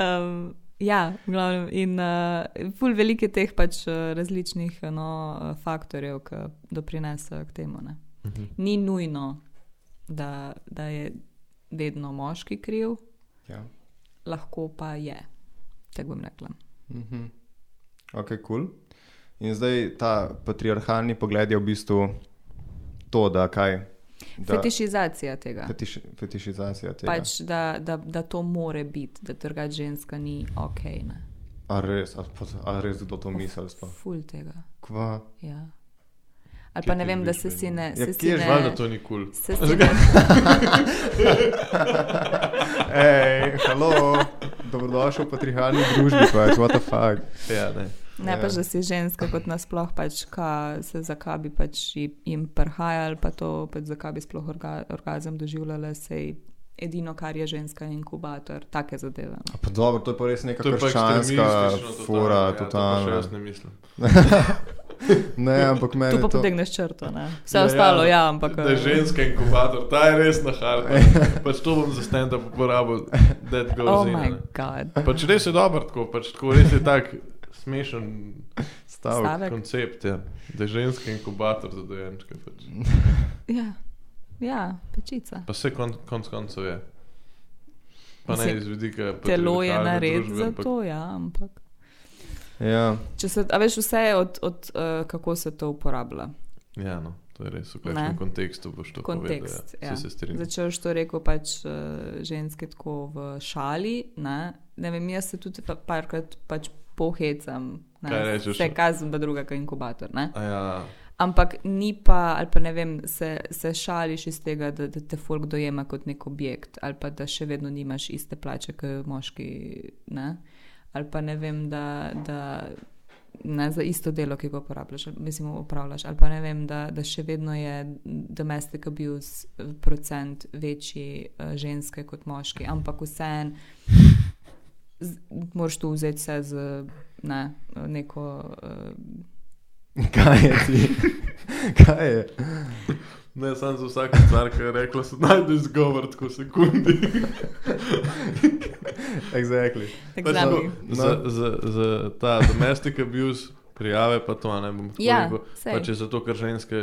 Um, ja, v glavnem. In uh, ful veliko je teh pač eh, različnih eh, no, eh, faktorjev, ki doprinesejo k temu. Ne. Mhm. Ni nujno, da, da je vedno moški kriv, Ja. lahko pa je. Tako bom rekla. Mhm. Ok, kul. Cool. In zdaj ta patriarhalni pogled je v bistvu to, da kaj. Da, Fetišizacija tega. fetiš, fetišizacija tega. Pač, da, da, da to more biti, da drugače ženska ni ok. Ne. A res, a, pot- a res kdo to misli? sploh? Ful tega. Kva? Ja. Ali Kje pa ne ti vem, da vidiš se si vedno? ne. Ja, se si kje je ne- Žal, da to ni kul. Cool. se si ne- Hej, halo, dobrodošel v patriarhalni družbi, pač, what the fuck. Ja, ne. Ne Ja. pač, da si ženska kot nasploh, pač ka, se zakaj bi pač ji- jim prhaja ali pa to, pač zakaj bi sploh orga, orgazem doživljala, sej edino, kar je ženska inkubator, take zadeve. no. A Pa dobro, to je pa res neka To je pa krščanska ekstremistično fora, totalno, Ja, to pa še totalna. jaz ne mislim. Ne, ampak Tu meni pa je to. potegneš črto, ne? Vse Ja, ja, ostalo, ja, ampak. Da je ženska inkubator, ta je res na hardu. Pač to bom za stand-up uporabil, da goes Oh in. a my ne. god. Pač res je dobro tako, pač tako res je tak smešen Stavek. Stavek. koncept, ja. da je ženska inkubator za dojenčke. Pač. Ja, ja pečica. Pa vse kon, konc koncev je. Pa ne Mislim, iz vidika. Telo je patriarhalne nared družbe, za ampak- to, ja, ampak. Ja, Če se, a veš, vse je od, od uh, kako se to uporablja. Ja, no, to je res, Ne. v kakšnem kontekstu boš to kontekst. povedal. Ja. Saj Se strinjam. Začel si to rekel pač eh, ženske tako v šali. Ne, ne vem, jaz se tudi pa, parkrat pač pohecam. ne. Kaj rečeš? Se kazen, pa druga kot inkubator. Ne? A Ja, Ampak ni pa, ali pa ne vem, se, se šališ iz tega, da, da te folk dojema kot nek objekt, ali pa da še vedno nimaš iste plače, kot moški. Ne? Ali pa ne vem, da, da ne, za isto delo, ki ga uporabljaš, ali- mislim, upravljaš. Ali pa ne vem, da, da še vedno je domestic abuse eh, procent večji eh, ženske kot moški, ampak vseeno z- moraš tu vzeti vse z ne, neko. eh, kaj je ti? Kaj je? ne, sam za vsako stvar, ki je rekla, se najde izgovor tako v sekundi. Exactly. Pač exami. tako, za, za, za ta domestic abuse prijave pa to, a ne bom tako Ja, rekel. sej. Pač je zato, ker ženske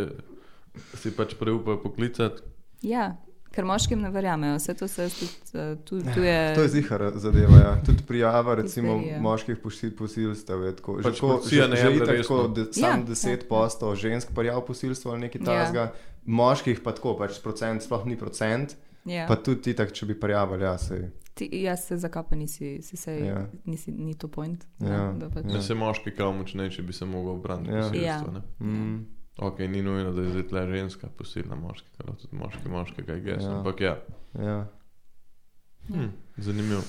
si pač preupajo poklicati. Ja, ker moškim ne verjamejo, vse to se jaz tudi eh, tu, tu je. Ja, To je zihar zadeva. Ja. Tudi prijava recimo, Histerija. moških posil- posilstev je tako. Že Pač tako, policija že, ne že jemlje itak resno. tako de, sam Ja, ja, 10 ja. postov žensk prijav posilstva ali nekaj Ja. tasga, moških pa tako, pač procent sploh ni procent. ja. Pa tudi itak, če bi prijavili, ja, sej. Ti, jaz se zakapa nisi, si se, Ja. ja. nisi, ni to point. Ja, Ne, da pač. Ja. Se moški kao močnejši bi se mogel obraniti. Ja. posilstva, Ja. ne. Mm. Ok, ni nujno, da je zdaj tle ženska posilna moškega, lahko tudi moški moškega, gess, Ja. ja. ampak ja. Ja. Ja. Hm, zanimivo.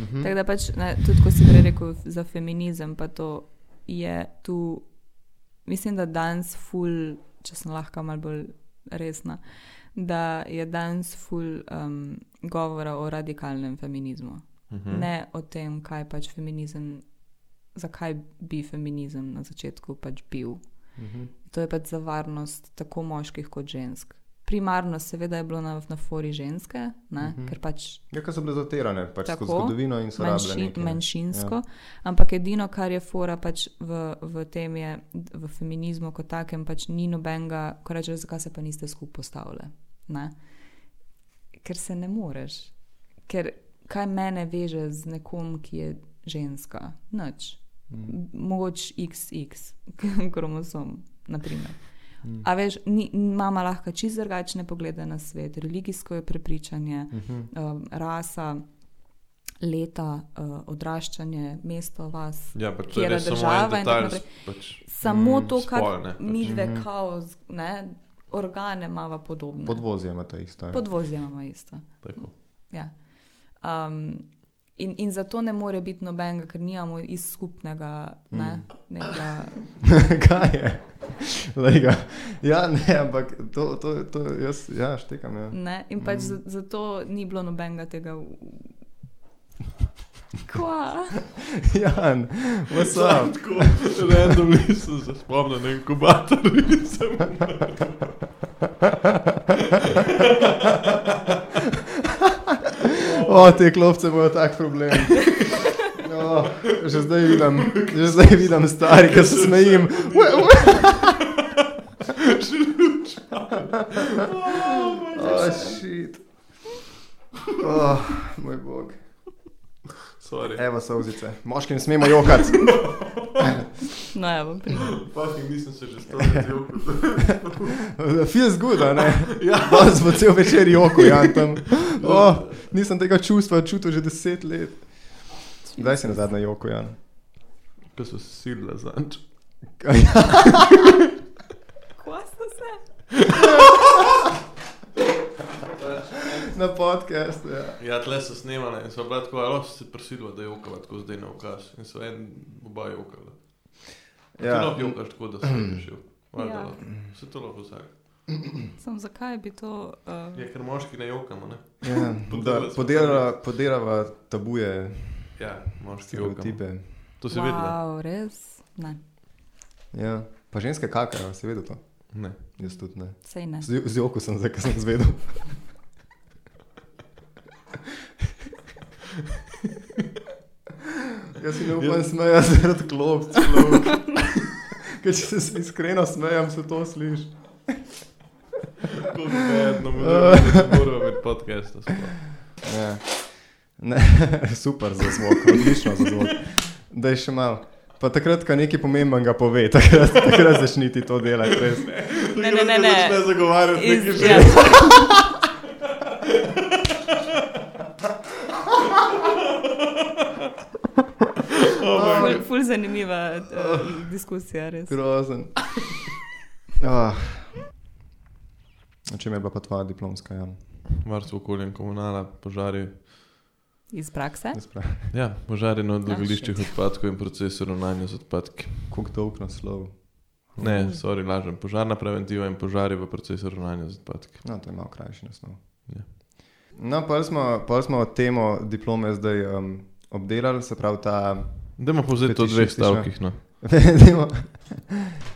Mhm. Tako da pač, ne, tudi ko si prej rekel za feminizem, pa to je tu, mislim, da danes ful, če sem lahko malo bolj resna, da je danes ful um, govora o radikalnem feminizmu. Mhm. Hmm. Ne o tem, kaj pač feminizem, zakaj bi feminizem na začetku pač bil. Mhm. To je pač za varnost tako moških kot žensk. Primarno, seveda, je bilo na, na fori ženske, Mhm. ne, mm -hmm. ker pač Ja, ker so bile zatirane, pač skozi Tako. zgodovino in so rabljene. manjši, manjšinsko, ja. ampak edino, kar je fora pač v, v tem, je, v feminizmu kot takem, pač ni nobenega, ko rečeš, zakaj se pa niste skupaj postavili. Ne? Ker se ne moreš. Ker kaj mene veže z nekom, ki je ženska? Noč. Mm. Mogoč XX kromosom, naprimer. Mm. A veš, ni, mama lahko čist drugačne poglede na svet, religijsko je prepričanje, Mhm. um, rasa, leta, uh, odraščanje, mesto, vas. Ja, pač to Katera je res samo država en in tako detajl. naprej. Pač, Samo Mm, to, spol, ne, kar pač. mi dve Mhm. kao, z- ne, organe imamo podobne. Podvozje ima ta ista. ja. Podvozje imamo isto. tako. Ja. Um, in, in zato ne more biti nobenega, ker nimamo iz skupnega, Mm. ne, nekega, Kaj je? Glej ga. Ja, ne, ampak to, to, to jaz, ja, štekam. Ja. ne. In pač mm. zato ni bilo nobenega tega. v- Kva? Jan, what's up? Tako, randomly sem se spomnil na inkubator in sem O, te klopce bojo tak problem. O, že zdaj vidim, že zdaj vidim stari, ki se smejim. Oh, O, shit. O, moj bog. Sorry. Evo sauzice. Moški ne smemo jokati. No, evo, pri- Fucking nisem se že stvarno zjutraj. Feels good, a ne? Ja. Danes bo cel večer joko, Jan tam. O, nisem tega čustva čutil že deset let. Kdaj si na zadnje joko, Jan? Ko so se silile zanč. kva ste se? Na podcastu, ja. Ja, tle so snemane in so bila tako, ali lahko se prisilila, da jokava tako zdaj na ukaz. In so en, oba jokala. Ja. Ti lahko jokaš tako, da se ne rešil. Ja. Ja. Vse to lahko vsak. Sem zakaj bi to. Uh, Ja, ker moški ne jokamo, ne? ja. Da, Podelila smo podirava, podirava tabuje, Ja, moški jokamo. stereotipe. To si vedela? wow, res? Ne, Ja. Pa ženske kakajo, si vedel to? Ne. Jaz tudi ne. sej ne. Z, z joko sem zdaj, ker sem zvedel. Jaz si ne upam smejati zaradi klopc. človek. Ker če se iskreno smejam, se to sliši. Tako bedno, ne moramo imeti podcasta. sploh. Ne. Ja. Ne, super za zvok, odlično za zvok. Daj še malo. Pa takrat, ko nekaj pomembnega pove, takrat, takrat začni ti to delati. Res. Ne, ne, ne, ne. Začne zagovarjati Iz, nekaj ja. že. Oh ful, ful zanimiva uh, diskusija, res. Grozen. Ah. Na čem je bila pa tvoja diplomska jama? Varstvo okolja in komunala, požari. Iz prakse? Ja, požari na odlagališčih odlagališčih odpadkov in proces ravnanja z odpadki. Kako dolg naslov? Ne, sorry, lažem. Požarna preventiva in požari v procesu ravnanja z odpadki. No, to je malo krajši naslov. Ja. No, pa smo, pol smo temo diplome zdaj um, obdelali, se pravi ta. Dajmo povzeti to v dveh Fetišistična. stavkih. No. demo-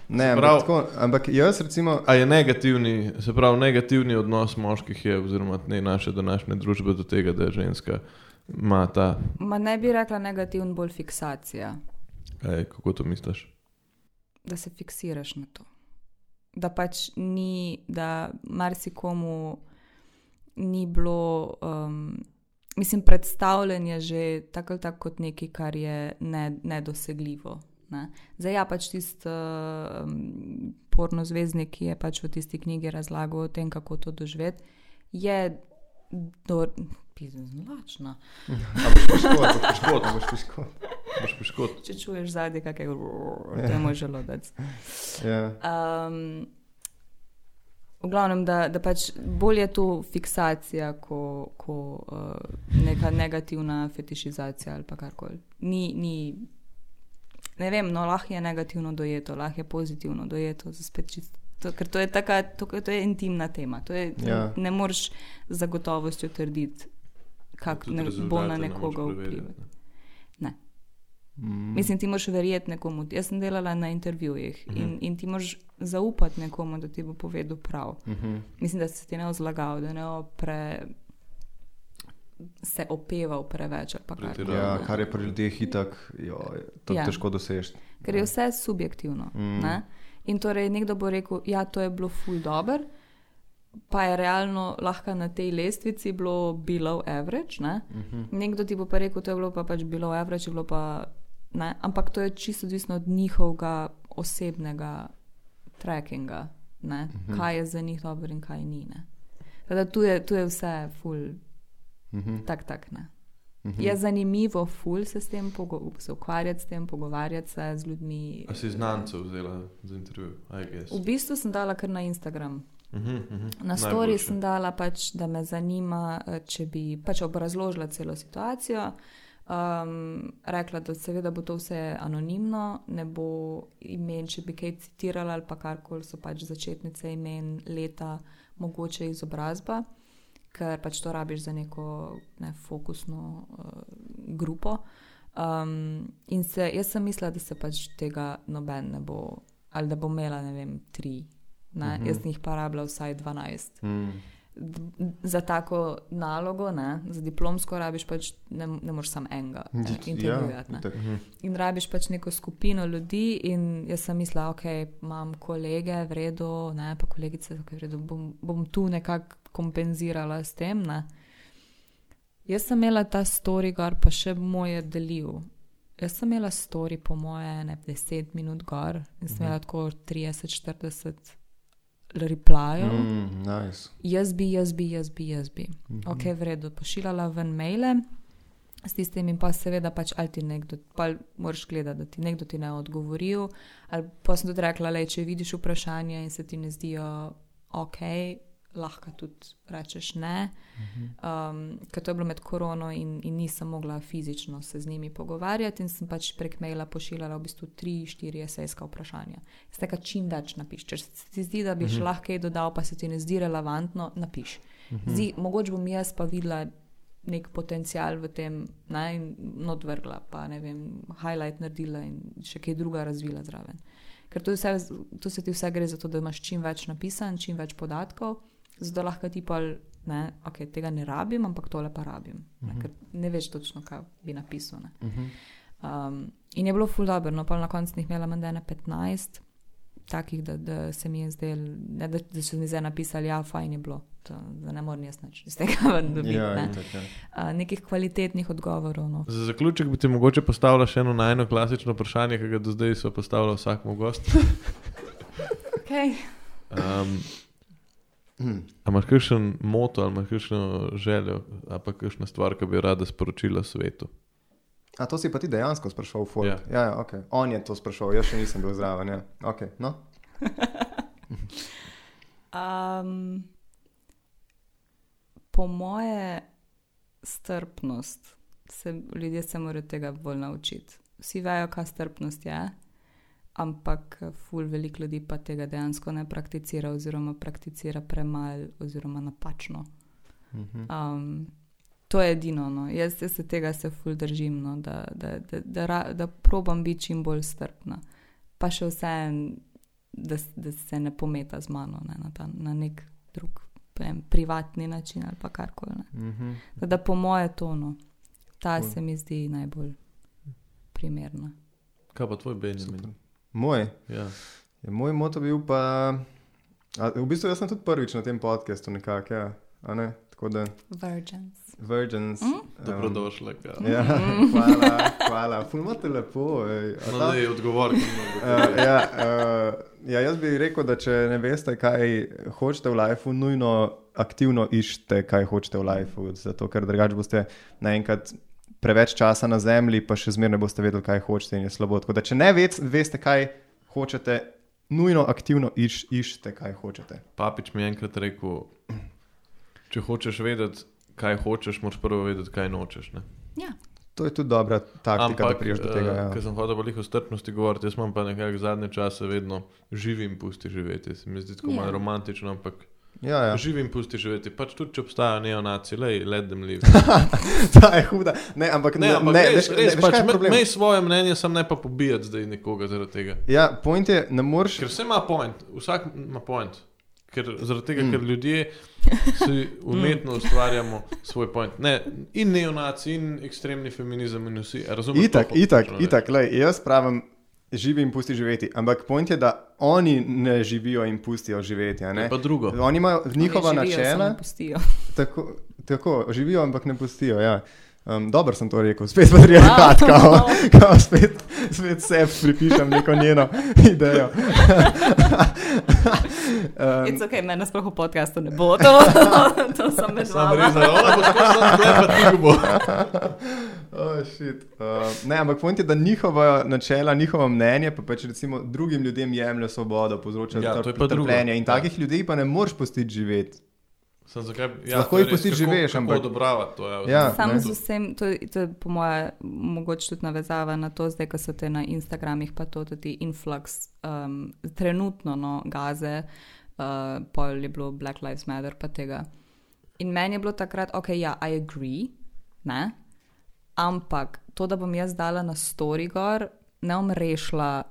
ne, ampak, pravi- tako, ampak jaz recimo. A je negativni, se pravi, negativni odnos moških je, oziroma ne naše današnje družbe do tega, da je ženska ima ta, Ma ne bi rekla negativen, bolj fiksacija, kaj, kako to misliš? da se fiksiraš na to. Da pač ni, da marsikomu ni bilo, um, mislim, predstavljen je že tako ali tako kot nekaj, kar je ne, nedosegljivo. Ne. Zdaj, ja, pač tisti um, porno zvezdnik, ki je pač v tisti knjigi razlagal o tem, kako to doživeti, je do, pizden zlačna. Ampak škod, Škod. boš škod. Boš piškot. Če čuješ zadnje, kaj je, to je moj želodec. Ja. Um, v glavnem, da, da pač bolje je to fiksacija, kot ko, uh, neka negativna fetišizacija ali pa karkoli. Ni, ni, ne vem, no, lahko je negativno dojeto, lahko je pozitivno dojeto, za spet čisto. To, ker to je, taka, to, to je intimna tema. To je, Ja. ja. Ne moreš z zagotovostjo trditi, kako ne, bo na nekoga vplival. Mm. Mislim, ti moraš verjeti nekomu. Jaz sem delala na intervjujih in, Mhm. in ti moraš zaupati nekomu, da ti bo povedal prav. Mhm. Mislim, da se ti ne bo zlagal, da ne bo pre... se opeval preveč. ali pa kar Pretiraval. Ja, koli. kar je pri ljudeh itak, jo, je tako ja. Ja. težko dosežeti. Ker je vse subjektivno. Mm. Mm. In torej nekdo bo rekel, da ja, to je bilo ful dobr, pa je realno lahko na tej lestvici bilo below average. Ne? Mm -hmm. Nekdo ti bo pa rekel, to je bilo pa pač below average, je bilo pa ne. Ampak to je čisto odvisno od njihovega osebnega trackinga, ne? Mhm. kaj je za njih dobro in kaj ni. Ne? Tako Da, tu, je, tu je vse ful, Mhm. tak, tak ne. Mhm. Je zanimivo, ful se s tem pogo- se ukvarjati, s tem pogovarjati se z ljudmi. A si znancev vzela za intervju, I guess. V bistvu sem dala kar na Instagram. Mhm, mhm. Na Najboljše. storju sem dala, pač, da me zanima, eh, če bi pač obrazložila celo situacijo. Um, rekla, da seveda bo to vse anonimno, ne bo imen, če bi kaj citirala ali pa karkoli, so pač začetnice imen, leta, mogoče izobrazba, ker pač to rabiš za neko ne, fokusno uh, grupo. Um, in se, jaz sem mislila, da se pač tega noben ne bo, ali da bo imela, ne vem, tri. Ne? Mhm. Mm -hmm. Jaz sem jih pa rabila vsaj 12 Mm. Ja, d- za tako nalogo, ne, za diplomsko, rabiš pač ne, ne moreš samo enega eh, ja. intervjuvati. ne. itak. In rabiš pač neko skupino ljudi, in jaz sem mislila, ok, imam kolege, v redu, ne pa kolegice, ok, v redu, bom, bom tu nekako kompenzirala s tem. Ne. Jaz sem imela ta story gor, pa še moj je delil. Jaz sem imela story, po moje, ne 10 minut gor in sem imela tako 30-40 replajev. Mm, nice. Jaz bi, jaz bi, jaz bi, jaz bi. Mhm. Ok, v redu, pošiljala ven maile, s tistim in pa seveda pač ali ti nekdo, pa moraš gledati, da ti nekdo ti ne odgovori, ali pa sem tudi rekla, le če vidiš vprašanja in se ti ne zdijo ok, lahko tudi rečeš ne. Um, ker to je bilo med korono in, in nisem mogla fizično se z njimi pogovarjati in sem pač prek maila pošiljala v bistvu tri, štiri esejska vprašanja. Steka čim več napiš. Če se ti zdi, da bi še lahko kaj dodal, pa se ti ne zdi relevantno, napiš. Mhm. Zdi, mogoče bom jaz pa videla nek potencial v tem, naj odvrgla, pa ne vem, highlight naredila in še kaj druga razvila zraven. Ker to, je vse, to se ti vse gre za to, da imaš čim več napisan, čim več podatkov, zato lahko ti pa, ne, ok, tega ne rabim, ampak tole pa rabim. Ne, ker ne veš točno, kaj bi napisal. Ne. Mhm. Um, in je bilo ful dobro, no pa na koncu sem jih imela menda ene 15, takih, da, da se mi je zdelo, ne, da, da so mi zdaj napisali, ja, fajn je bilo, to, da ne morem jaz nič iz tega ven dobiti. Ja, ne. itak, ja. Uh, nekih kvalitetnih odgovorov. No. Za zaključek bi ti mogoče postavila še eno najno klasično vprašanje, ki ga do zdaj so postavila vsakmu gostu. Okay. Um, Mhm. a imaš kakšen moto ali imaš kakšno željo, ali pa kakšna stvar, ki bi jo rada sporočila svetu? A to si pa ti dejansko sprašal, Folk? Ja. Ja, ja, okay. On je to sprašal, jaz še nisem bil zraven. Ja. Okay, no? Um, po moje, strpnost. Se, ljudje se morajo tega bolj naučiti. Vsi vejo, kaj strpnost je, ampak eh, ful veliko ljudi pa tega dejansko ne prakticira, oziroma prakticira premalo, oziroma napačno. Mhm. Um, to je edino. No. Jaz, jaz se tega se ful držim, no, da, da, da, da, ra- da probam biti čim bolj strpna. Pa še vseeno, da, s- da se ne pometa z mano ne, na, ta, na nek drug ne vem, privatni način ali pa karkoli. ne. Mhm. Da, da po moje tono, ta Cool. se mi zdi najbolj primerna. Kaj pa tvoj Super. Benjamin? Moj, Ja. je moj moto bil pa. A, v bistvu jaz sem tudi prvič na tem podkastu, nekako. Ja. a ne? Tako da, Virgins. Virgins. Mm? Dobrodošla. Um, Ja, hvala, hvala. Fulmate lepo. Ej. A No, ta- da je odgovor. Uh, ja, uh, ja, jaz bi rekel, da če ne veste, kaj hočete v lifeu, nujno aktivno iščete, kaj hočete v lifeu, zato ker drugače boste naenkrat preveč časa na zemlji, pa še zmeraj ne boste vedeli, kaj hočete in je slabo. Tako da, če ne vec, veste, kaj hočete, nujno aktivno iš, iščete, kaj hočete. Papič mi je enkrat rekel, če hočeš vedeti, kaj hočeš, moraš prvo vedeti, kaj nočeš. Ne? Ja. To je tudi dobra taktika, da priješ do tega. eh, Ker Ja. sem hodil veliko strpnosti govoriti, jaz imam pa nekako zadnje čase vedno živim, pusti živeti. Se mi zdi tako Ja. malo romantično, ampak Ja, ja. ja. živim, pusti živeti. Pač tudi, če obstajajo neonaci, lej, let them live. Ta je huda. Ne, ampak Ne, ampak ne, ne, res, veš- res, veš, pač kaj je me- problem? mej svoje mnenje, sem ne pa pobijati zdaj nekoga zaradi tega. Ja, point je, ne moreš. Ker vse ima point, vsak ima point. Ker, zaradi tega, mm. ker ljudje Mm. si umetno ustvarjamo svoj point. Ne, in neonaci, in ekstremni feminizem, in vsi. a Razumeš? Itak, to Torej. hočeš itak, reči? itak, lej, jaz pravim, živi in pusti živeti. Ampak point je, da oni ne živijo in pustijo živeti. a Je ne? Ja, Pa drugo. Oni imajo njihova Oni živijo, načela, samo pustijo. tako, tako živijo, ampak ne pustijo. Ja. Um, Dobro sem to rekel, spet patriarhat, Wow. kao, kao spet, spet se pripišem neko njeno idejo. um, It's okay, meni sploh v podkastu ne bo to. to sem med Sam vama. res, da ona bo tako samo klepet, ti bo. Oh, shit. uh, ne, ampak point je, da njihova načela, njihovo mnenje, pa pač recimo drugim ljudem jemlje svobodo, povzroča Ja, ja, to je pa drugo. trpljenje. In Ja. takih ljudi pa ne moreš pustiti živeti. Sem zakaj, ja, Lahko to je jih res, pustiš, kako- živeš, ampak- Kako odobravati to, ja. Ja. Sam ne. z vsem, to, je- to je po mojem, mogoče tudi navezava na to, zdaj, ko so te na Instagramih, pa to tudi influx, um, trenutno no, gaze, uh, pol je bilo Black Lives Matter, pa tega. In meni je bilo takrat, ok, ja, I agree, ne? ampak to, da bom jaz dala na story gor, ne bom rešila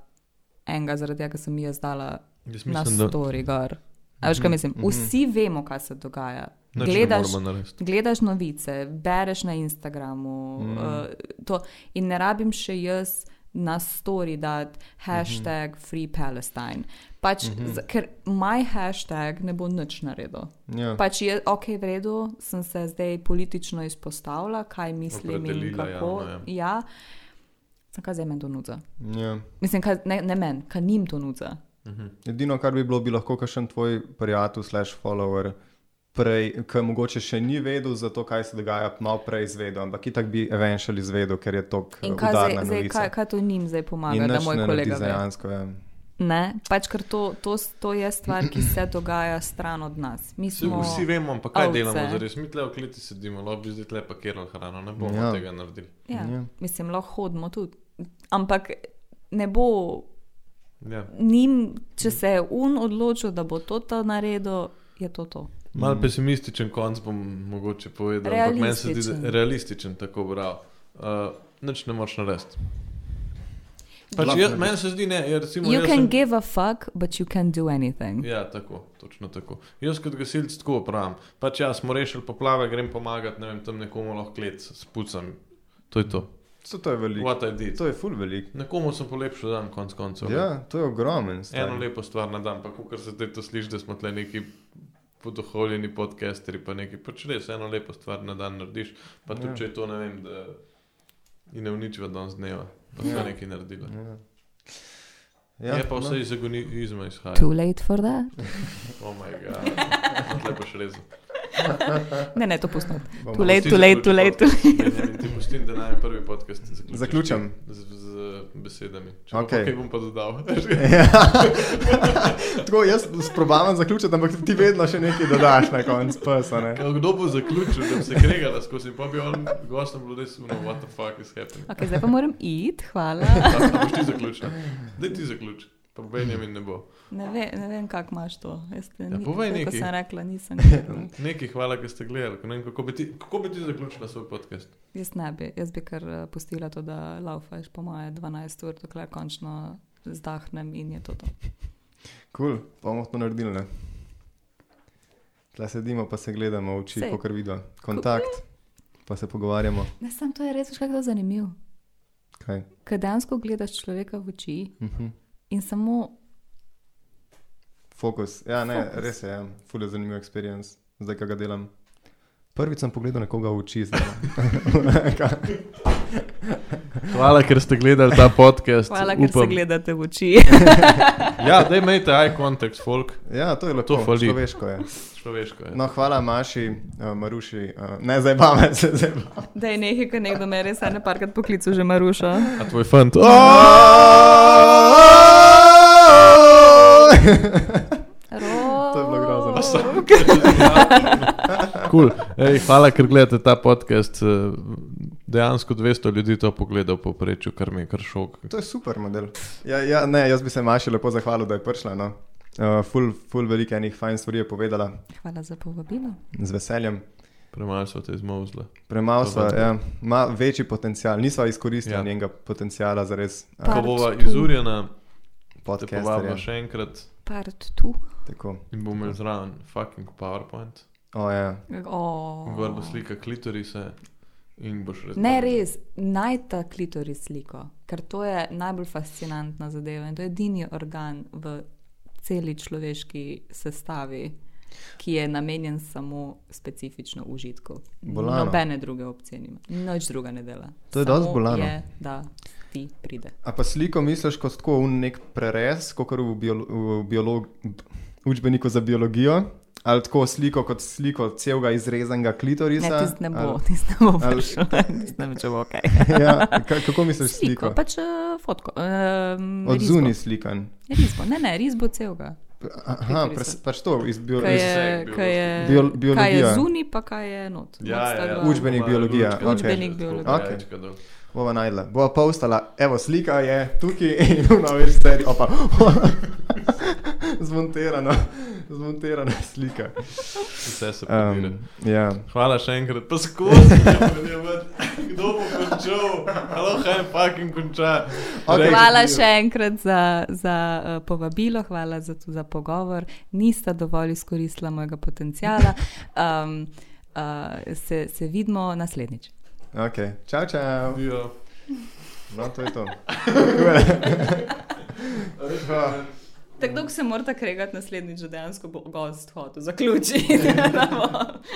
enega, zaradi tega, ker sem jaz dala Jaz na mislim, da Mhm, story gor. A veš, kaj mislim? Vsi vemo, kaj se dogaja. nič ne Gledaš, moramo narediti. Gledaš novice, bereš na Instagramu mm. uh, to, in ne rabim še jaz na story dati hashtag mm -hmm. Free Palestine. Pač, mm -hmm. Ker moj hashtag ne bo nič naredil. Ja. Pač je ok, v redu, sem se zdaj politično izpostavila, kaj mislim in Opredelila kako. javno, Ja, Samo kaj zdaj meni to nudza? Ja. Mislim, kaj, ne, ne meni, kaj njim to nudza. Edino, kar bi bilo, bi lahko kakšen tvoj prijatelj, slash follower, prej, ki mogoče še ni vedel za to, kaj se dogaja, malo prej izvedel, ampak itak bi eventually izvedel, ker je to In kaj, udarna zdaj, zdaj, novica. kaj, kaj to njim zdaj pomaga, In da nič moj ne naredi kolega ve? dejansko. Ja. Ne, pač ker to, to, to je stvar, ki se dogaja stran od nas. Mi Vsi, smo, vsi vemo, ampak kaj Ovce. delamo, zares mi tle v kleti sedimo, lobby zdaj tle pakirali hrano, ne bomo Ja. tega naredili. ja, Ja. mislim, lahko hodimo tudi. Ampak ne bo Ja. njim, če se je un odločil, da bo to, to naredil, je to to. Mal pesimističen konc bom mogoče povedal, ampak meni se zdi da- Realističen. realističen, tako prav. Uh, nič ne moreš narediti. Pač Lahko jaz, narediš. meni se zdi ne, jer recimo. You jaz can sem- give a fuck, but you can do anything. Ja, tako, točno tako. Jaz kot gasilec tako pravim. Pač ja, smo rešili poplave, grem pomagati, ne vem, tam nekomu lahko klet s pucam. To je to. So to je veliko. What I did. To je ful veliko. Nekomu sem polepšal dan, konc koncev. Ja, to je ogromen. stari. Eno lepo stvar na dan, pa kar se zdaj to sliši, da smo tle neki podoholjeni podcasteri, pa neki pač res eno lepo stvar na dan narediš, pa tudi Ja. ja. če je to ne vem, da in ne uničiva danes dneva, pa smo Ja. ja. nekaj naredili. Ja. Ja, je pa no. vse iz agonizma Too izhaja. late for that? Oh my god, No, lepo še rezo. Ja. Ne, ne, to pustimo. Bomo Too late, too late, too late. Ti pustim, da naj prvi podcast zaključiš. Zaključim. Z, z besedami. Če Okej. okay. Kaj bom pa dodal? Ja. Tako jaz probavam zaključiti, ampak ti vedno še nekaj dodaš na koncu psa. Ne? Kao, Kdo bo zaključil, da bi se kregala skozi, pa bi on gostom bilo res uno, what the fuck is happening. Okay, zdaj pa moram iti, hvala. A boš ti zaključil? Daj ti zaključ. Pa Benjamin ne bo. Ne, ve, ne vem, kako imaš to. Jaz te Ja, ni- povej tako kot nekaj. sem rekla, nisem. gledala. Neki hvala, ker ste gledali. ko Ne vem, kako bi ti, kako bi ti zaključila svoj podcast? Jaz ne bi, jaz bi kar eh, pustila to, da laufaš po moje 12 ur, dokler končno zdahnem in je to to. Kul, cool, pa bomo to naredili. Ne? Tla sedimo, pa se gledamo v oči, Sej. kot vidimo. Kontakt, pa se pogovarjamo. Ne, sam to je res, veš, kako je to zanimivo. Kaj? Ker dejansko gledaš človeka v oči Mhm. in samo Fokus. Ja, ne, Fokus. Fokus. res je, ja. ful je zanimiv experience, zdaj, kaj ga delam. Prvič sem pogledal nekoga v oči, zdaj. Hvala, ker ste gledali ta podcast. Hvala, ker se Upam- gledate v oči. Ja, da imejte eye contact, folk. Ja, to je lepo, To fali. človeško je. Človeško ja. je. No, hvala Maši, uh, Maruši, uh, ne zdaj bame, se zdaj bame. da je nekaj, kar nekdo me res ene parkrat poklical, že Maruša. A tvoj fant. Rok. Oh! To je bilo grozno. Pa so- Cool. Ej, hvala, ker gledate ta podcast. Eh, Dejansko 200 ljudi to pogleda v povprečju, kar mi je kar šok. To je super model. Ja, ja, ne, jaz bi se Maši lepo zahvalil, da je prišla. No. Uh, ful, ful veliko enih fajn stvari je povedala, Hvala za povabilo. z veseljem. Premalo so te izmozle. Premalo To smo, pa- ja, ima večji potencial, nisva izkoristila Ja. ja. njenega potenciala za res Pa- uh, Ko Part bova two. izurjena, te povabimo podcast. še enkrat Part tu. Tako. in bomo imeli zraven fucking PowerPoint. O, ja. Oh. Gor bo slika klitorise in boš res. Ne, res, najta klitoris sliko, ker to je najbolj fascinantna zadeva in to je edini organ v celi človeški sestavi, ki je namenjen samo specifično užitku. Bolano. Nobene druge opcije nima, nič druga ne dela. To je Samo dosti bolano. Je, da ti pride. A pa sliko misliš kot tako v nek prerez, kot v, biolo, v biolog, učbeniku za biologijo, ali tako sliko kot sliko celega izrezanega Ne, klitorisa? tist ne bo, Ali, tist ne bo ali- prišel, tist ne bo, če bo kaj. ja, ka- kako misliš sliko? Sliko, sliko? pač eh, fotko. Um, Od zunaj slikan. Risbo, ne, ne, risbo celega. Aha, Klitorisa. pres, pač to iz bio- Kaj iz je, kaj je, Bio- kaj je biologija. zuni, pa kaj je not. Ja, Not sta ja, ja. dva. Učbenik. biologija, Učbenik biologije. Okej. Bova najdla. Bova postala, evo slika je tukaj in na več stvari, opa. zmontirana, zmontirana slika. Vse se Um, pravi. Um, ja. Hvala še enkrat, pa skozi. Kdo bo končal? Aloha, kaj fucking konča. Okej. Rek- Hvala še enkrat za, za eh, povabilo, hvala za, tu- za pogovor. Nista dovolj izkoristila mojega potencijala. Um, uh, se, se vidimo naslednjič. Okay. Čau, čau. Ja. No, to je to. Tako dolgo se morate kregati naslednjič, da dejansko bo gost hotel zaključiti.